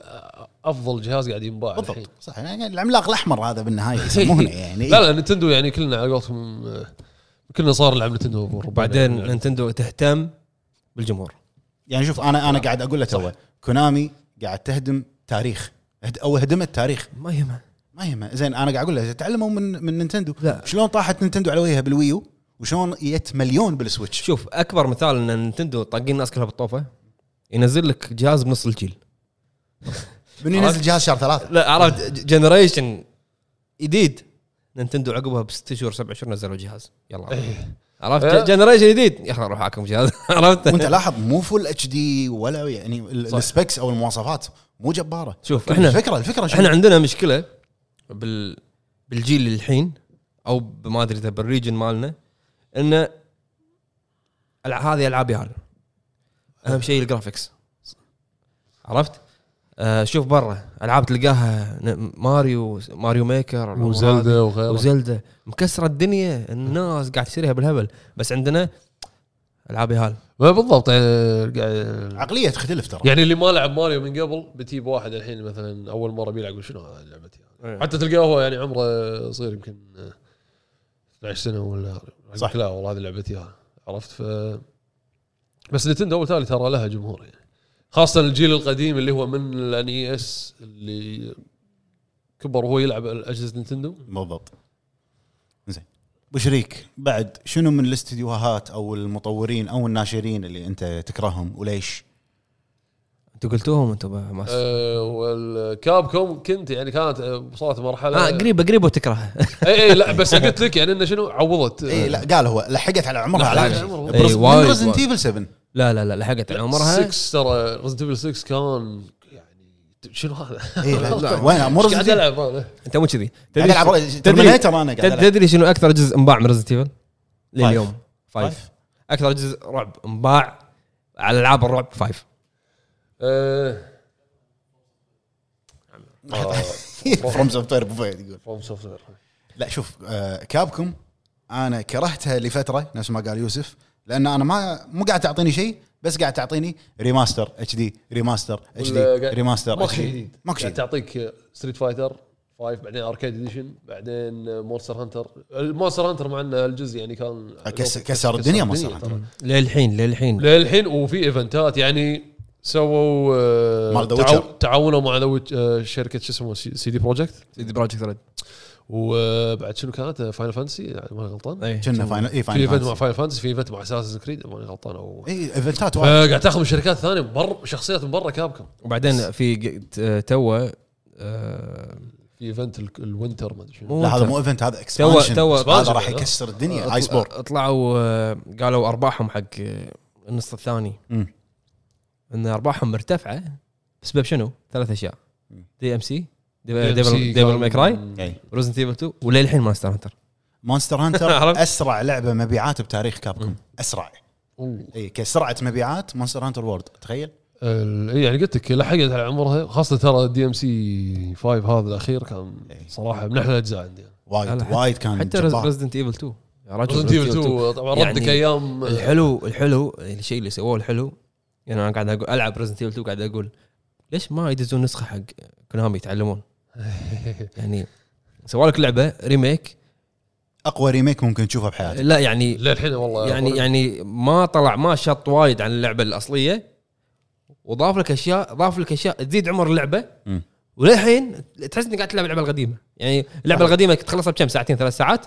S2: افضل جهاز قاعد ينباع الحين
S3: بالضبط صح يعني العملاق الاحمر هذا بالنهايه يسمونه يعني
S2: لا لا نتندو يعني كلنا على قولتهم آه، كلنا صار نلعب نتندو بربعنا.
S1: بعدين
S2: يعني
S1: نينتندو تهتم بالجمهور
S3: يعني شوف انا انا قاعد اقول له تو كونامي قاعد تهدم تاريخ هد- او هدمت تاريخ
S1: ما يهمه
S3: ما يهمه زين انا قاعد اقول له تعلموا من من نينتندو
S1: لا.
S3: شلون طاحت نينتندو على وجهها بالويو وشلون جت مليون بالسويتش
S1: شوف اكبر مثال ان نينتندو طاقين الناس كلها بالطوفه ينزل لك جهاز بنص الجيل
S3: من ينزل جهاز شهر ثلاثه
S1: لا عرفت جنريشن جديد نينتندو عقبها بست شهور سبع شهور نزلوا جهاز يلا
S2: إيه. إيه.
S1: عرفت جنريشن جديد يلا روح هاكم جهاز
S3: وانت
S1: عرفت
S3: لاحظ مو فول اتش دي ولا يعني ال-
S2: صح.
S3: السبكس او المواصفات مو جباره
S1: شوف احنا
S3: الفكره الفكره شنو؟
S1: احنا عندنا مشكله بال بالجيل الحين او ب- ما ادري اذا بالريجن مالنا ان الع- هذه العاب ياهل اهم شيء الجرافكس عرفت؟ آه شوف برا العاب تلقاها ن- ماريو ماريو ميكر
S2: وزلدا وغيره
S1: وزلدة مكسره الدنيا الناس قاعد تشتريها بالهبل بس عندنا العاب ياهل
S2: ما بالضبط يعني قاعد-
S3: عقليه تختلف ترى
S2: يعني اللي ما لعب ماريو من قبل بتجيب واحد الحين مثلا اول مره بيلعب يقول شنو هذه لعبتي حتى تلقاه هو يعني عمره صغير يمكن آه، 12 سنه ولا
S3: صح.
S2: صح لا والله هذه لعبتي ها. عرفت ف بس نتندو اول تالي ترى لها جمهور يعني خاصه الجيل القديم اللي هو من الان اي اس اللي كبر وهو يلعب اجهزه نتندو
S3: بالضبط زين بشريك بعد شنو من الاستديوهات او المطورين او الناشرين اللي انت تكرههم وليش؟
S1: انتوا قلتوهم انتوا ب- ما أس-
S2: آه والكاب كوم كنت يعني كانت آه، وصلت مرحله
S1: اه قريبه قريبه وتكرهها
S2: اي اي إيه، لا بس قلت لك يعني انه شنو عوضت
S3: اي إيه، لا قال هو لحقت على عمرها
S2: لحقت
S3: على
S2: على عمرها.
S1: إي، وايد،
S3: ريزنت
S1: وايد.
S3: ايفل 7
S1: لا لا لا لحقت على عمرها
S2: 6 ترى ريزنت 6 كان يعني شنو هذا؟
S3: اي إيه، لا، لا وين مو
S2: ايش قاعد
S3: ريزنت
S2: العب انا؟
S1: انت مو كذي
S3: قاعد العب ترمينيتر انا قاعد
S1: تد-
S3: العب
S1: تدري شنو اكثر جزء انباع من ريزنت ايفل؟ لليوم
S3: فايف.
S1: فايف اكثر جزء رعب انباع على العاب الرعب فايف
S2: آه،
S3: فروم سوفت وير ابو فهد يقول
S2: فروم سوفت وير
S3: لا شوف آه كابكم انا كرهتها لفتره نفس ما قال يوسف لان انا ما مو قاعد تعطيني شيء بس قاعد تعطيني ريماستر اتش دي ريماستر اتش دي
S2: ولا قاعد-
S3: ريماستر
S2: ماكو
S3: اتش
S2: شيء
S3: دي
S2: جديد
S3: ماكو شيء
S2: يعني تعطيك ستريت فايتر 5 بعدين اركيد اديشن بعدين مونستر هانتر المونستر هانتر مع انه الجزء يعني كان
S3: آه، كس- كسر الدنيا Monster Hunter.
S2: ترى.
S1: للحين للحين
S2: للحين وفي ايفنتات يعني سووا آه،
S3: مال The
S2: تعاو-
S3: Witcher.
S2: تعاونوا مع The Witch- آه، شركه شو اسمه سي دي بروجكت
S1: سيدي بروجكت ريد
S2: وبعد شنو كانت فاينل فانتسي يعني ما أنا غلطان
S1: اي
S3: كنا فاينل إيه، اي
S2: في ايفنت
S3: فاينل
S2: مع فاينل فانتسي في ايفنت مع اساسن كريد ما أنا غلطان او
S3: اي ايفنتات إيه، وايد
S2: فقاعد تاخذ من شركات ثانيه من برا شخصيات من برا كابكم
S1: وبعدين في ج- ت- تو آه،
S2: في ايفنت ال- الوينتر ما ادري شنو
S1: مو
S3: لا هذا
S1: أنت.
S3: مو ايفنت هذا
S1: تو-
S3: اكسبانشن
S1: آه، تو- آه،
S3: هذا
S2: expansion.
S3: راح يكسر الدنيا
S1: أطلع-
S3: ايس بور
S1: طلعوا آه، قالوا ارباحهم حق آه، النص الثاني
S3: مم.
S1: ان ارباحهم مرتفعه بسبب شنو؟ ثلاث اشياء
S3: مم.
S1: دي ام سي
S2: DMC
S1: ديفل
S2: كان-
S1: ماي كراي
S3: إي.
S1: ريزنت ايفل 2 وللحين ماستر هانتر
S3: مونستر
S2: عرفت؟
S3: هانتر اسرع لعبه مبيعات بتاريخ كابكوم
S2: مم.
S3: اسرع
S2: أوه.
S3: اي كسرعه مبيعات مونستر هانتر وورد تخيل
S2: ال- إيه يعني قلت لك لحقت على عمرها خاصه ترى دي ام سي 5 هذا الاخير كان
S3: إيه.
S2: صراحه من احلى الاجزاء عندي
S3: وايد
S1: لا،
S3: وايد كان
S1: حتى
S3: جبار.
S1: ريزدنت ايفل 2 يا رجل
S2: ريزنت ايفل 2 طبعا
S1: يعني
S2: ردك ايام
S1: الحلو الحلو الشيء اللي سووه الحلو يعني انا قاعد اقول العب ريزنت ايفل 2 قاعد اقول ليش ما يدزون نسخه حق كونامي يتعلمون يعني سووا لك لعبه ريميك
S3: اقوى ريميك ممكن تشوفه بحياتك
S1: لا يعني
S2: للحين والله
S1: يعني يعني ما طلع ما شط وايد عن اللعبه الاصليه وضاف لك اشياء ضاف لك اشياء تزيد عمر اللعبه
S3: مم.
S1: وللحين تحس انك قاعد تلعب اللعبه القديمه يعني اللعبه القديمه كنت تخلصها بكم ساعتين ثلاث ساعات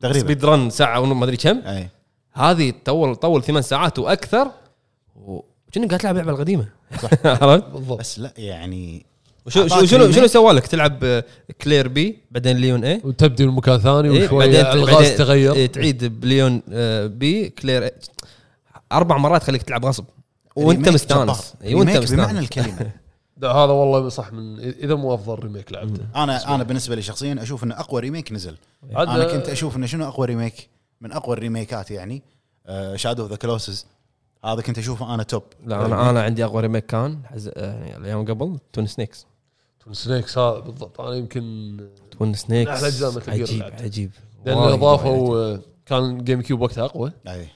S3: تقريبا
S1: سبيد رن ساعه ونص ما ادري كم
S3: اي
S1: هذه طول طول ثمان ساعات واكثر وكأنك قاعد تلعب اللعبه القديمه عرفت؟
S2: بالضبط
S3: بس لا يعني
S1: وشو شو
S3: أعطاك
S1: شنو شنو
S3: remake.
S1: سوى لك تلعب آه، كلير بي بعدين ليون إيه؟ اي
S2: وتبدي المكان ثاني
S1: إيه،
S2: وشوي
S1: بعدين-
S2: الغاز
S1: بعدين- إيه،
S2: تغير
S1: تعيد بليون آه، بي كلير إيه. اربع مرات خليك تلعب غصب وانت
S3: ريميك
S1: مستانس
S3: جبار.
S1: إي، وانت
S3: ريميك بمعنى
S1: مستانس
S3: الكلمه
S2: ده هذا والله صح من اذا مو افضل ريميك لعبته
S3: انا انا بالنسبه لي شخصيا اشوف انه اقوى ريميك نزل
S2: عاد-
S3: انا كنت اشوف انه شنو اقوى ريميك من اقوى الريميكات يعني شادو اوف ذا كلوسز هذا كنت اشوفه انا توب
S1: لا انا انا عندي اقوى ريميك كان حز- آه، يعني الايام قبل تون سنيكس
S2: تون سنيكس هذا بالضبط انا يمكن
S1: تون سنيكس
S2: أحلى أجزاء Metal Gear
S1: عجيب
S2: لعبت.
S1: عجيب
S2: لان
S1: وايد
S2: اضافوا
S1: وايد.
S2: آه، كان جيم كيوب وقتها اقوى
S3: أي.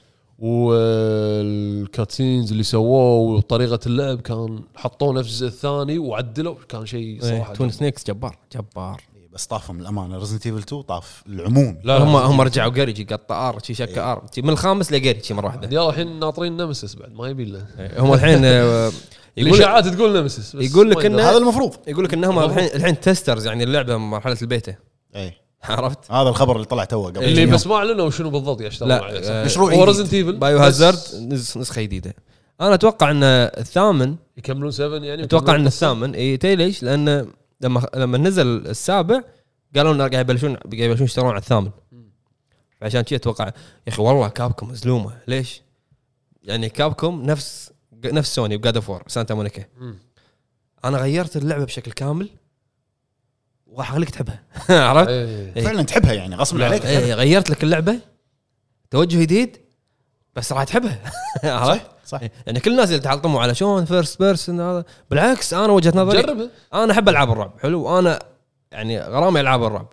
S2: والكاتسينز اللي سووه وطريقه اللعب كان حطوه نفس الجزء الثاني وعدلوا كان شيء
S1: إيه،
S2: صراحه
S1: تون سنيكس جبار جبار
S3: بس طافهم الامانه ريزنت ايفل 2 طاف العموم
S2: لا إيه.
S1: هم
S2: هم
S1: هم رجعوا قريجي قطع ار شي شكه ار شي من الخامس لقريجي شي مره واحده
S2: يلا الحين ناطرين نمسس بعد ما يبي له
S1: هم الحين آه، يقول
S2: الاشاعات تقول نمسس بس
S1: يقول لك
S2: ما يقدر.
S1: إنه-
S3: هذا المفروض
S1: يقول لك انهم الحين الحين تسترز يعني اللعبه من مرحله البيتا
S3: اي
S1: عرفت؟
S3: هذا الخبر اللي طلع توه قبل
S2: اللي
S3: يوم.
S2: إيه، بس ما اعلنوا شنو بالضبط يشتغلون
S1: إيه. لا،
S2: عليه
S1: آه،
S3: مشروع
S2: هو
S3: جديد.
S2: ريزنت ايفل
S1: بايو هازارد نس- نسخه جديده انا اتوقع ان الثامن
S2: يكملون 7 يعني
S1: اتوقع ان
S2: يكملون-
S1: الثامن اي تدري ليش؟ لان لما لما نزل السابع قالوا لنا قاعد يبلشون قاعد يبلشون يشتغلون على الثامن فعشان كذا اتوقع يا اخي والله كابكم مظلومه ليش؟ يعني كابكم نفس نفس سوني بجاد اوف وور سانتا مونيكا
S2: مم.
S1: انا غيرت اللعبه بشكل كامل وحخليك تحبها عرفت؟
S2: إيه.
S1: إي.
S3: فعلا تحبها يعني غصب عليك
S1: إيه غيرت لك اللعبه توجه جديد بس راح تحبها عرفت؟
S3: صح
S1: إيه، يعني كل الناس اللي تعلطموا على شلون فيرست بيرسون هذا بالعكس انا وجهه نظري
S2: جربه
S1: انا احب العاب الرعب حلو انا يعني غرامي العاب الرعب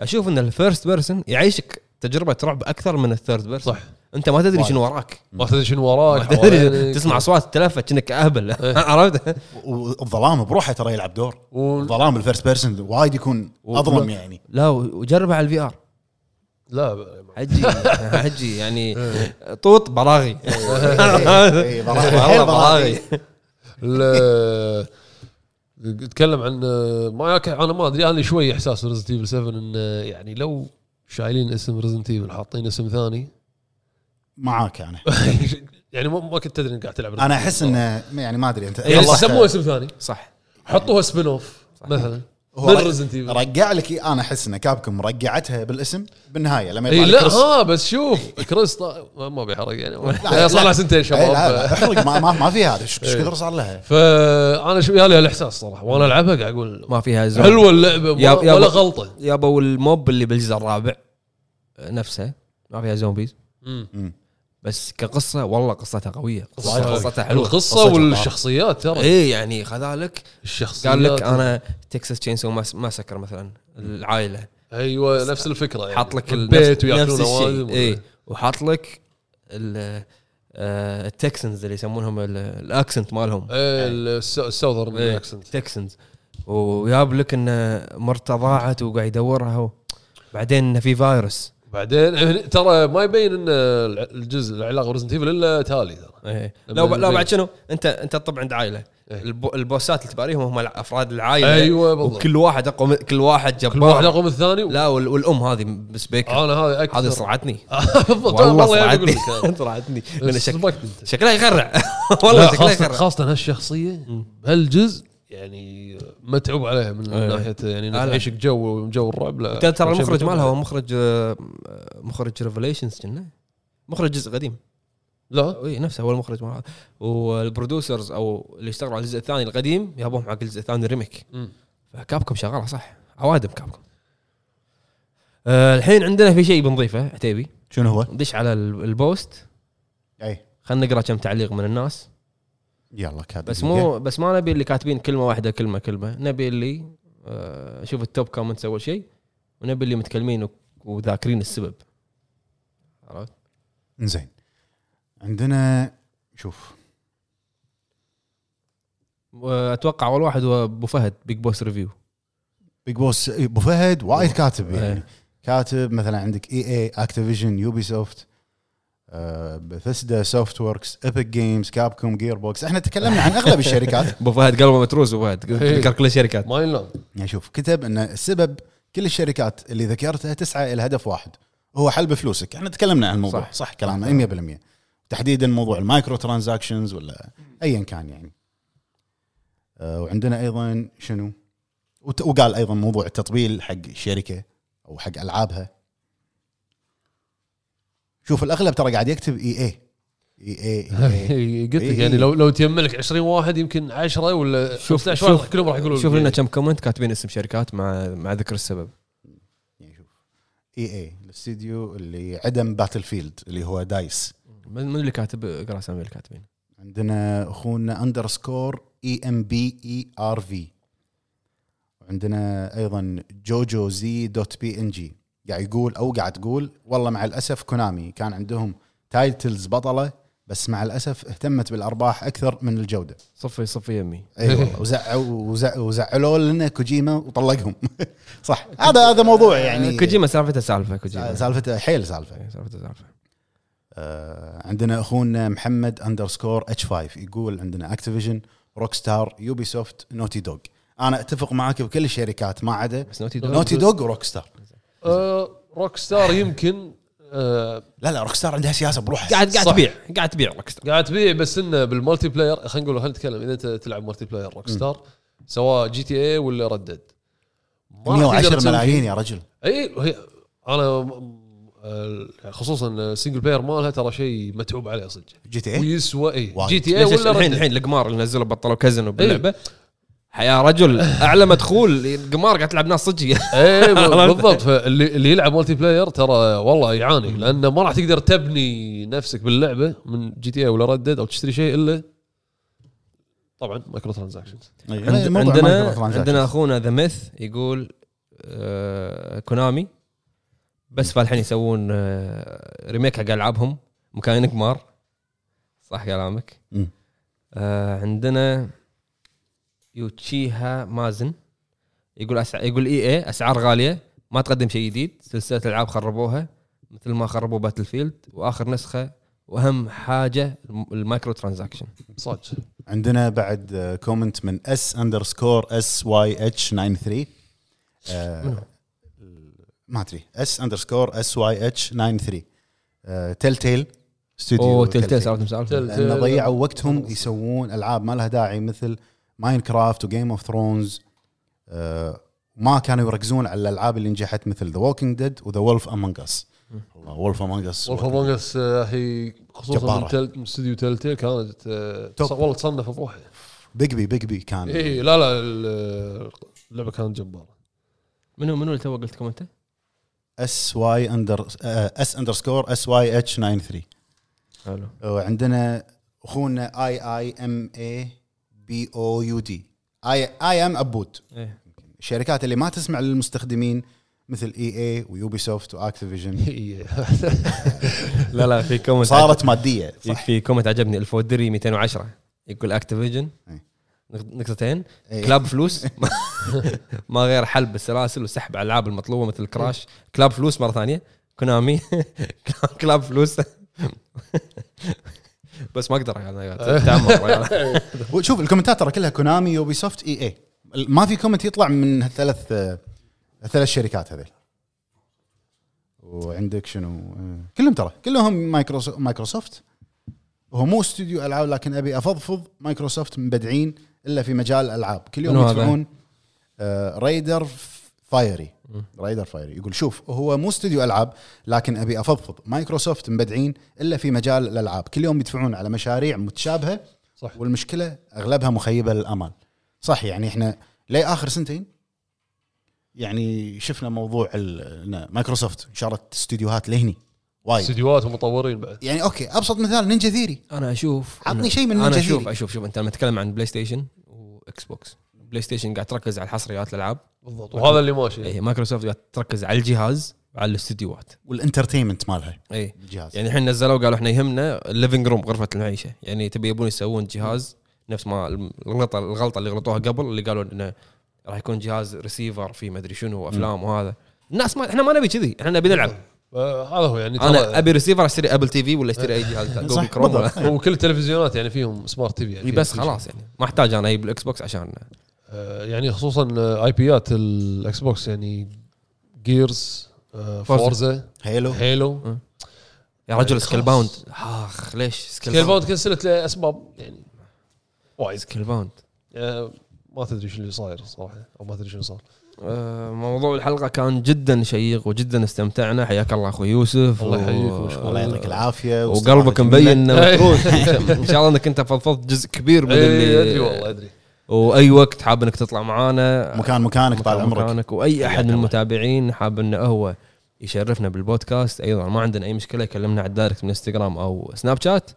S1: اشوف ان الفيرست بيرسون يعيشك تجربه رعب اكثر من الثيرد بيرسون
S2: صح
S1: انت ما تدري
S3: وايد.
S1: شنو وراك
S2: ما تدري شنو
S1: ما
S2: وراك
S1: تدري
S2: حوالينك.
S1: تسمع اصوات تلفت كأنك اهبل عرفت؟
S3: والظلام بروحه ترى يلعب دور
S2: و...
S3: الظلام الفيرست بيرسون وايد يكون
S1: و-
S3: اظلم يعني
S1: لا وجربها على الفي ار
S2: لا ب-
S1: حجي حجي يعني طوط براغي
S3: إيه، إي، براغي.
S1: إيه، والله براغي
S2: ال- نتكلم عن ما ياك- انا ما ادري انا شوي احساس ريزنت ايفل 7 انه يعني لو شايلين اسم ريزنت ايفل حاطين اسم ثاني
S3: معاك انا
S2: يعني ما ما كنت تدري انك قاعد تلعب Resident
S3: انا احس
S2: Evil.
S3: انه يعني ما ادري انت
S2: يعني
S3: خلصت-
S2: سموه اسم ثاني
S1: صح
S2: حطوها سبين اوف مثلا
S3: هو
S2: من
S3: رج-
S2: ريزنت ايفل
S3: رجع لك إيه، انا احس ان كابكم رجعتها بالاسم بالنهايه لما يطلع
S2: اي
S3: لك
S2: إيه، لا آه،
S3: كريس-
S2: ها بس شوف كريس طا- ما ما بيحرق يعني
S3: لا،
S2: صار
S3: لا.
S2: لها سنتين
S3: إي، إيه، لا، لا،
S2: شباب إيه.
S3: احرق ما, ما, ما في هذا ايش إيش كثر صار لها
S2: فانا شو يالي الاحساس صراحه وانا العبها قاعد اقول
S1: ما فيها زون
S2: حلوه اللعبه ما-
S1: يا- يا
S2: ولا
S1: ب-
S2: غلطه
S1: يابا والموب اللي بالجزء الرابع آه، نفسه ما فيها زومبيز
S2: مم.
S1: بس كقصه والله قصتها قويه
S2: قصة-
S1: قصتها حلوه
S2: القصه
S3: قصتها
S2: والشخصيات ترى
S1: ايه يعني خذلك
S2: الشخصيات
S1: قال لك انا تكساس تشينسو ماسكر مثلا العائله
S2: ايوه نفس الفكره يعني
S1: حاط لك ال- نفس-
S2: البيت وياكلون
S1: نفس الشيء.
S2: اوادم
S1: ايه وحاط لك ال- آه، التكسنز اللي يسمونهم ال- الاكسنت مالهم
S2: ايه الس- الساوذرن
S1: إيه،
S2: اكسنت
S1: تكسنز وياب لك ان مرته ضاعت وقاعد يدورها هو. بعدين انه في فايروس
S2: بعدين هن- ترى ما يبين ان الع- الجزء العلاقه بريزنت ايفل الا تالي ترى
S1: ايه.
S2: لما
S1: لو ب- لو
S2: نبي.
S1: بعد شنو انت انت تطب عند عائله
S2: إيه.
S1: البو- البوسات اللي تباريهم هم الع- افراد العائله
S2: أيوة بالضبط.
S1: إيه. وكل واحد اقوى من- كل واحد جبار
S2: كل واحد آه، اقوم الثاني و-
S1: لا وال- والام هذه بس بيكر
S2: انا هذا اكثر
S1: هذه صرعتني
S2: بالضبط
S1: والله
S2: والله يعني اقول
S1: صرعتني
S2: لك أنا.
S1: صرعتني من
S2: بس
S1: شك...
S2: صدمت انت
S1: شكلها يخرع
S2: لا،
S1: والله شكلها
S2: خاصه
S1: يخرع
S2: خاصه هالشخصيه بهالجزء يعني متعوب عليها من
S1: إيه.
S2: ناحيه يعني
S1: لا.
S2: تعيشك جو جو الرعب لا
S1: ترى ترى
S2: شيء
S1: المخرج
S2: متعوب
S1: مالها هو
S2: عليه.
S1: مخرج آه، مخرج ريفليشنز كنا مخرج جزء قديم
S2: لا
S1: اي نفسه هو المخرج مالها والبرودوسرز او اللي اشتغلوا على الجزء الثاني القديم يابوهم حق الجزء الثاني ريميك
S2: مم.
S1: فكابكم شغاله صح عوادم كابكم آه الحين عندنا في شيء بنضيفه عتيبي
S3: شنو هو؟
S1: ندش على ال- البوست
S3: اي
S1: خلينا نقرا كم تعليق من الناس
S3: يلا كاد
S1: بس مو بس ما نبي اللي كاتبين كلمه واحده كلمه كلمه نبي اللي آه، شوف التوب كومنتس اول شيء ونبي اللي متكلمين و- وذاكرين السبب عرفت؟
S3: زين عندنا شوف
S1: اتوقع اول آه، واحد هو ابو فهد بيج بوس ريفيو
S3: بيج بوس ابو إيه، فهد وايد كاتب
S1: إيه.
S3: يعني كاتب مثلا عندك إيه، اي اي اكتيفيجن يوبي سوفت آه، بثسدا سوفت وركس ايبك جيمز كاب كوم جير بوكس احنا تكلمنا عن اغلب الشركات
S1: ابو فهد قلبه متروس ابو فهد
S2: إيه.
S1: ذكر كل الشركات
S2: ما ينلام
S3: يعني شوف كتب ان السبب كل الشركات اللي ذكرتها تسعى الى هدف واحد هو حل بفلوسك احنا تكلمنا عن الموضوع
S1: صح.
S3: صح, صح كلامنا 100% تحديدا موضوع المايكرو ترانزاكشنز ولا ايا كان يعني آه، وعندنا ايضا شنو وت- وقال ايضا موضوع التطبيل حق الشركه او حق العابها شوف الاغلب ترى قاعد يكتب إيه. اي اي اي اي
S2: قلت لك
S3: إيه.
S2: يعني لو لو تيملك 20 واحد يمكن 10 ولا 15 واحد كلهم راح يقولون إيه.
S1: شوف لنا كم كومنت كاتبين اسم شركات مع مع ذكر السبب
S3: يعني شوف اي اي الاستديو اللي عدم باتل فيلد اللي هو دايس
S1: من من اللي كاتب اقرا اسامي اللي كاتبين
S3: عندنا E اخونا اندرسكور اي ام بي اي ار في وعندنا ايضا جوجو زي دوت بي ان جي قاعد يقول او قاعد تقول والله مع الاسف كونامي كان عندهم تايتلز بطله بس مع الاسف اهتمت بالارباح اكثر من الجوده
S1: صفي صفي يمي
S3: اي والله وزعوا وزعوا وزعلوا لنا كوجيما وطلقهم صح هذا هذا موضوع يعني
S1: كوجيما سالفته سالفه كوجيما
S3: سالفته حيل سالفه
S1: إيه، سالفته سالفه
S3: آه، عندنا اخونا محمد اندرسكور اتش 5 يقول عندنا اكتيفيجن روك ستار يوبي سوفت نوتي دوغ انا اتفق معك بكل الشركات ما عدا
S1: بس نوتي دوغ
S3: نوتي دوغ وروك ستار
S2: روك ستار آه، يمكن آه،
S3: لا لا روك ستار عندها سياسه بروحها
S1: قاعد قاعد
S2: صح.
S1: تبيع قاعد تبيع روك ستار
S2: قاعد تبيع بس انه بالمالتي بلاير خلينا نقول خلينا نتكلم اذا انت تلعب مالتي بلاير روك ستار سواء جي تي اي ولا ردد
S3: 110 ملايين يا رجل
S2: اي هي انا إيه، م- آه، خصوصا السنجل بلاير مالها ترى شيء متعوب عليه صدق
S3: جي تي إيه؟ اي
S2: ويسوى اي
S3: وايد.
S2: جي تي اي
S1: إيه؟ ليش
S2: إيه، ولا إيه،
S1: الحين
S2: ردد
S1: الحين القمار اللي نزلوا بطلوا كازن باللعبه يا رجل اعلى مدخول القمار قاعد تلعب ناس صدق
S2: اي إيه، ب- بالضبط فاللي اللي يلعب مالتي بلاير ترى والله يعاني لانه ما راح تقدر تبني نفسك باللعبه من جي تي اي ولا ردد او تشتري شيء الا طبعا مايكرو ترانزاكشنز
S1: عند-
S3: موضوع
S1: عندنا
S3: مايكرو ترانزاكشنز.
S1: عندنا اخونا ذا ميث يقول آه، كونامي بس فالحين يسوون آه، ريميك حق العابهم مكان قمار صح كلامك
S3: مم.
S1: آه، عندنا يوتشيها مازن يقول أسع... يقول اي اي اسعار غاليه ما تقدم شيء جديد سلسله العاب خربوها مثل ما خربوا باتل فيلد واخر نسخه واهم حاجه الم- المايكرو ترانزاكشن
S2: صدق
S3: عندنا بعد آه، كومنت من اس اندرسكور اس واي اتش 93 آه، ما ادري اس اندرسكور اس واي اتش 93 تيل تيل
S1: او تلتيل سالفه مسالفه
S3: لان ضيعوا وقتهم يسوون العاب ما لها داعي مثل ماينكرافت وجيم اوف ثرونز آه، ما كانوا يركزون على الالعاب اللي نجحت مثل ذا ووكينج ديد وذا وولف امونج اس والله وولف امونج اس
S2: وولف امونج اس آه، هي خصوصا
S3: جبارة.
S2: من تل- من استوديو تيل كانت آه،
S3: توب.
S2: تص- والله تصنف بروحه
S3: بيجبي بيجبي كان
S2: اي لا لا ال- اللعبه كانت جباره
S1: منو منو اللي تو قلت لكم انت؟
S3: اس واي اندر اس اندرسكور اس واي اتش 93
S1: حلو
S3: آه، وعندنا اخونا اي اي ام اي بي او يو دي اي اي ام ابود
S1: ايه
S3: الشركات اللي ما تسمع للمستخدمين مثل E اي اي ويوبي سوفت واكتيفيجن
S2: إي.
S1: لا لا في كومنت
S3: صارت ماديه
S1: عجب-
S3: صح
S1: في كومنت عجبني الفودري 210 يقول اكتيفيجن
S3: إيه.
S1: نقطتين
S3: إيه.
S1: كلاب فلوس ما غير حلب السلاسل وسحب على الالعاب المطلوبه مثل كراش كلاب فلوس مره ثانيه كونامي كلاب فلوس بس ما اقدر يعني تامر
S3: وشوف الكومنتات ترى كلها كونامي يوبي سوفت اي اي ما في كومنت يطلع من هالثلاث الثلاث شركات هذيل وعندك شنو آه، كلهم ترى كلهم مايكروس- مايكروسوفت هو مو استوديو العاب لكن ابي افضفض مايكروسوفت مبدعين الا في مجال الالعاب كل يوم
S1: منو هذا؟
S3: يدفعون آه، رايدر فايري رايدر فايري يقول شوف هو مو استوديو العاب لكن ابي افضفض مايكروسوفت مبدعين الا في مجال الالعاب كل يوم يدفعون على مشاريع متشابهه
S2: صح
S3: والمشكله اغلبها مخيبه للامال صح يعني احنا لي اخر سنتين يعني شفنا موضوع ال- إن مايكروسوفت شارت استديوهات لهني وايد
S2: استديوهات ومطورين بعد
S3: يعني اوكي ابسط مثال نينجا ثيري
S1: انا اشوف
S3: عطني
S1: أنا-
S3: شيء من
S1: انا
S3: نينجا
S1: اشوف
S3: ثيري.
S1: اشوف شوف انت لما تتكلم عن بلاي ستيشن واكس بوكس بلاي ستيشن قاعد تركز على الحصريات الالعاب
S2: بالضبط وهذا اللي ماشي
S1: اي إيه، مايكروسوفت قاعد تركز على الجهاز وعلى الاستديوهات
S3: والانترتينمنت مالها
S1: اي
S3: الجهاز
S1: يعني الحين نزلوا قالوا احنا يهمنا الليفنج روم غرفه المعيشه يعني تبي يبون يسوون جهاز نفس ما الغلطه الغلطه اللي غلطوها قبل اللي قالوا انه راح يكون جهاز ريسيفر فيه مدري شنو وافلام وهذا الناس ما احنا ما نبي كذي احنا نبي نلعب
S2: آه، هذا هو يعني
S1: انا
S2: ترى
S1: ابي ريسيفر اشتري ابل تي في ولا اشتري اي جهاز ثاني، جوجل
S3: صح،
S1: كروم ولا-
S3: بالضبط.
S2: وكل التلفزيونات يعني فيهم سمارت تي في يعني
S1: إي بس خلاص يعني ما احتاج انا اجيب الاكس بوكس عشان
S2: آه، يعني خصوصا اي بيات الاكس بوكس يعني آه، جيرز فورزا
S3: هيلو
S2: هيلو
S1: يا رجل
S2: خلاص.
S1: سكيل باوند اخ ليش سكيل
S2: سكيل
S1: باوند
S2: باوند كنسلت لاسباب يعني وايد
S1: سكيل باوند
S2: آه، ما تدري شو اللي صاير صراحه او ما تدري شنو صار
S1: آه، موضوع الحلقه كان جدا شيق وجدا استمتعنا حياك الله اخوي يوسف
S2: الله
S1: و-
S2: يحييك ويشكرك.
S3: الله يعطيك العافيه
S1: وقلبك
S3: واستراحة
S1: مبين
S3: جميلة.
S1: انه
S2: إيه،
S1: متروس ان شاء الله انك انت فضفضت جزء كبير من
S2: اي ادري والله
S1: اللي
S2: ادري
S1: واي وقت حاب انك تطلع معانا
S3: مكان مكانك طال
S1: مكان-
S3: عمرك
S1: مكانك واي احد من
S3: الله.
S1: المتابعين حاب انه هو يشرفنا بالبودكاست ايضا ما عندنا اي مشكله يكلمنا على الدايركت من انستغرام او سناب شات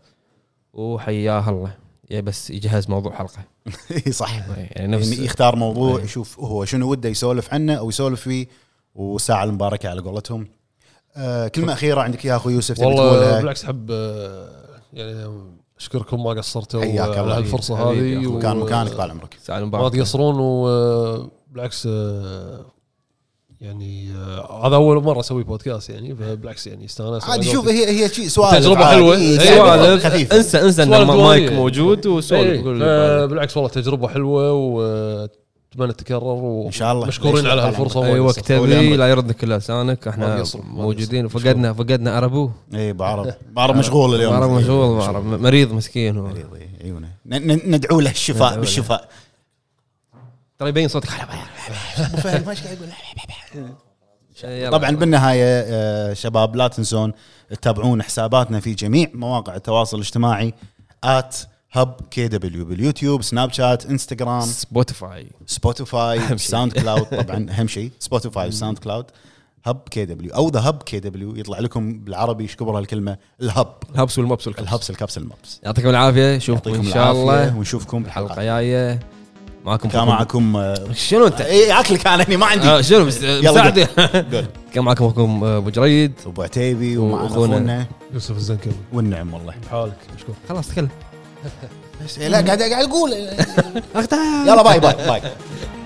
S1: وحياه الله يا بس يجهز موضوع حلقه
S3: اي إيه، صح
S1: يعني
S3: يعني
S1: نفس إيه.
S3: يختار موضوع
S1: أي.
S3: يشوف هو شنو وده يسولف عنه او يسولف فيه والساعه المباركه على قولتهم آه كلمه اخيره عندك اياها اخوي يوسف تبي
S2: والله
S3: تقولها
S2: بالعكس احب آه، يعني اشكركم ما قصرتوا آه،
S3: حياك
S2: على
S3: الله.
S2: هالفرصه
S1: حبيبي يا
S2: هذه
S1: أخوي.
S3: مكان
S2: و-
S3: مكانك طال عمرك
S1: ساعه
S2: ما
S1: المباراه
S2: تقصرون وبالعكس آه، يعني آه، هذا اول مره اسوي بودكاست يعني فبالعكس يعني استانست
S3: عادي شوف هي هي شيء سؤال إيه،
S2: تجربة
S3: أيوة.
S2: حلوة. إي،
S1: سوالف
S3: خفيف
S1: انسى انسى ان
S2: سوالف
S1: المايك
S2: ديوانية.
S1: موجود
S2: إيه،
S1: وسولف قول
S2: آه،
S1: اللي
S2: بالعكس والله تجربه حلوه واتمنى تتكرر وان
S3: إن شاء الله. أيوة، ليش
S2: مشكورين
S3: لا؟
S2: على هالفرصه
S1: بالك.
S2: وايد
S1: اي
S2: أصلاً.
S1: وقت
S3: طول
S1: تبي
S3: عمرك.
S1: لا يردك الا لسانك
S2: ما
S1: احنا
S2: يقصر، ما يقصر.
S1: موجودين فقدنا فقدنا اربو
S3: اي بعرب بعرب إيه، مشغول اليوم إيه،
S1: معرب مشغول معرب مريض مسكين هو
S3: مريض، إي، عيونه إيه، ن- ن- ندعو له
S1: ندعو
S3: الشفاء
S1: له.
S3: بالشفاء
S1: ترى يبين صوتك
S3: ابو فهد ما إيش قاعد يقول
S1: يلا.
S3: طبعا بالنهايه آه، شباب لا تنسون تتابعون حساباتنا في جميع مواقع التواصل الاجتماعي ات هب كي دبليو باليوتيوب سناب شات انستغرام
S1: سبوتيفاي
S3: سبوتيفاي
S1: أهم شيء.
S3: ساوند كلاود طبعا اهم شيء سبوتيفاي ساوند كلاود هب كي دبليو او ذا هب كي دبليو يطلع لكم بالعربي ايش كبر هالكلمه الهب
S1: الهبس والمبس والكبس
S3: الهبس الكبس المبس
S1: يعطيكم العافيه نشوفكم
S3: يعطيكم
S1: ان شاء
S3: العافيه
S1: الله
S3: ونشوفكم
S1: الحلقه
S3: بالحلقه
S1: الجايه معكم
S3: كان
S1: أخوكم-
S3: معكم آه،
S1: شنو انت؟
S3: اي اكلك انا هني ما عندي
S1: آه، شنو
S3: يلا
S1: مساعدي كان معكم اخوكم آه، ابو جريد
S3: ابو عتيبي ومعنا
S1: وأخونا.
S3: اخونا
S2: يوسف الزنكبي
S3: والنعم والله
S2: حالك مشكور
S1: خلاص تكلم
S3: بس لا قاعد قاعد اقول يلا باي باي باي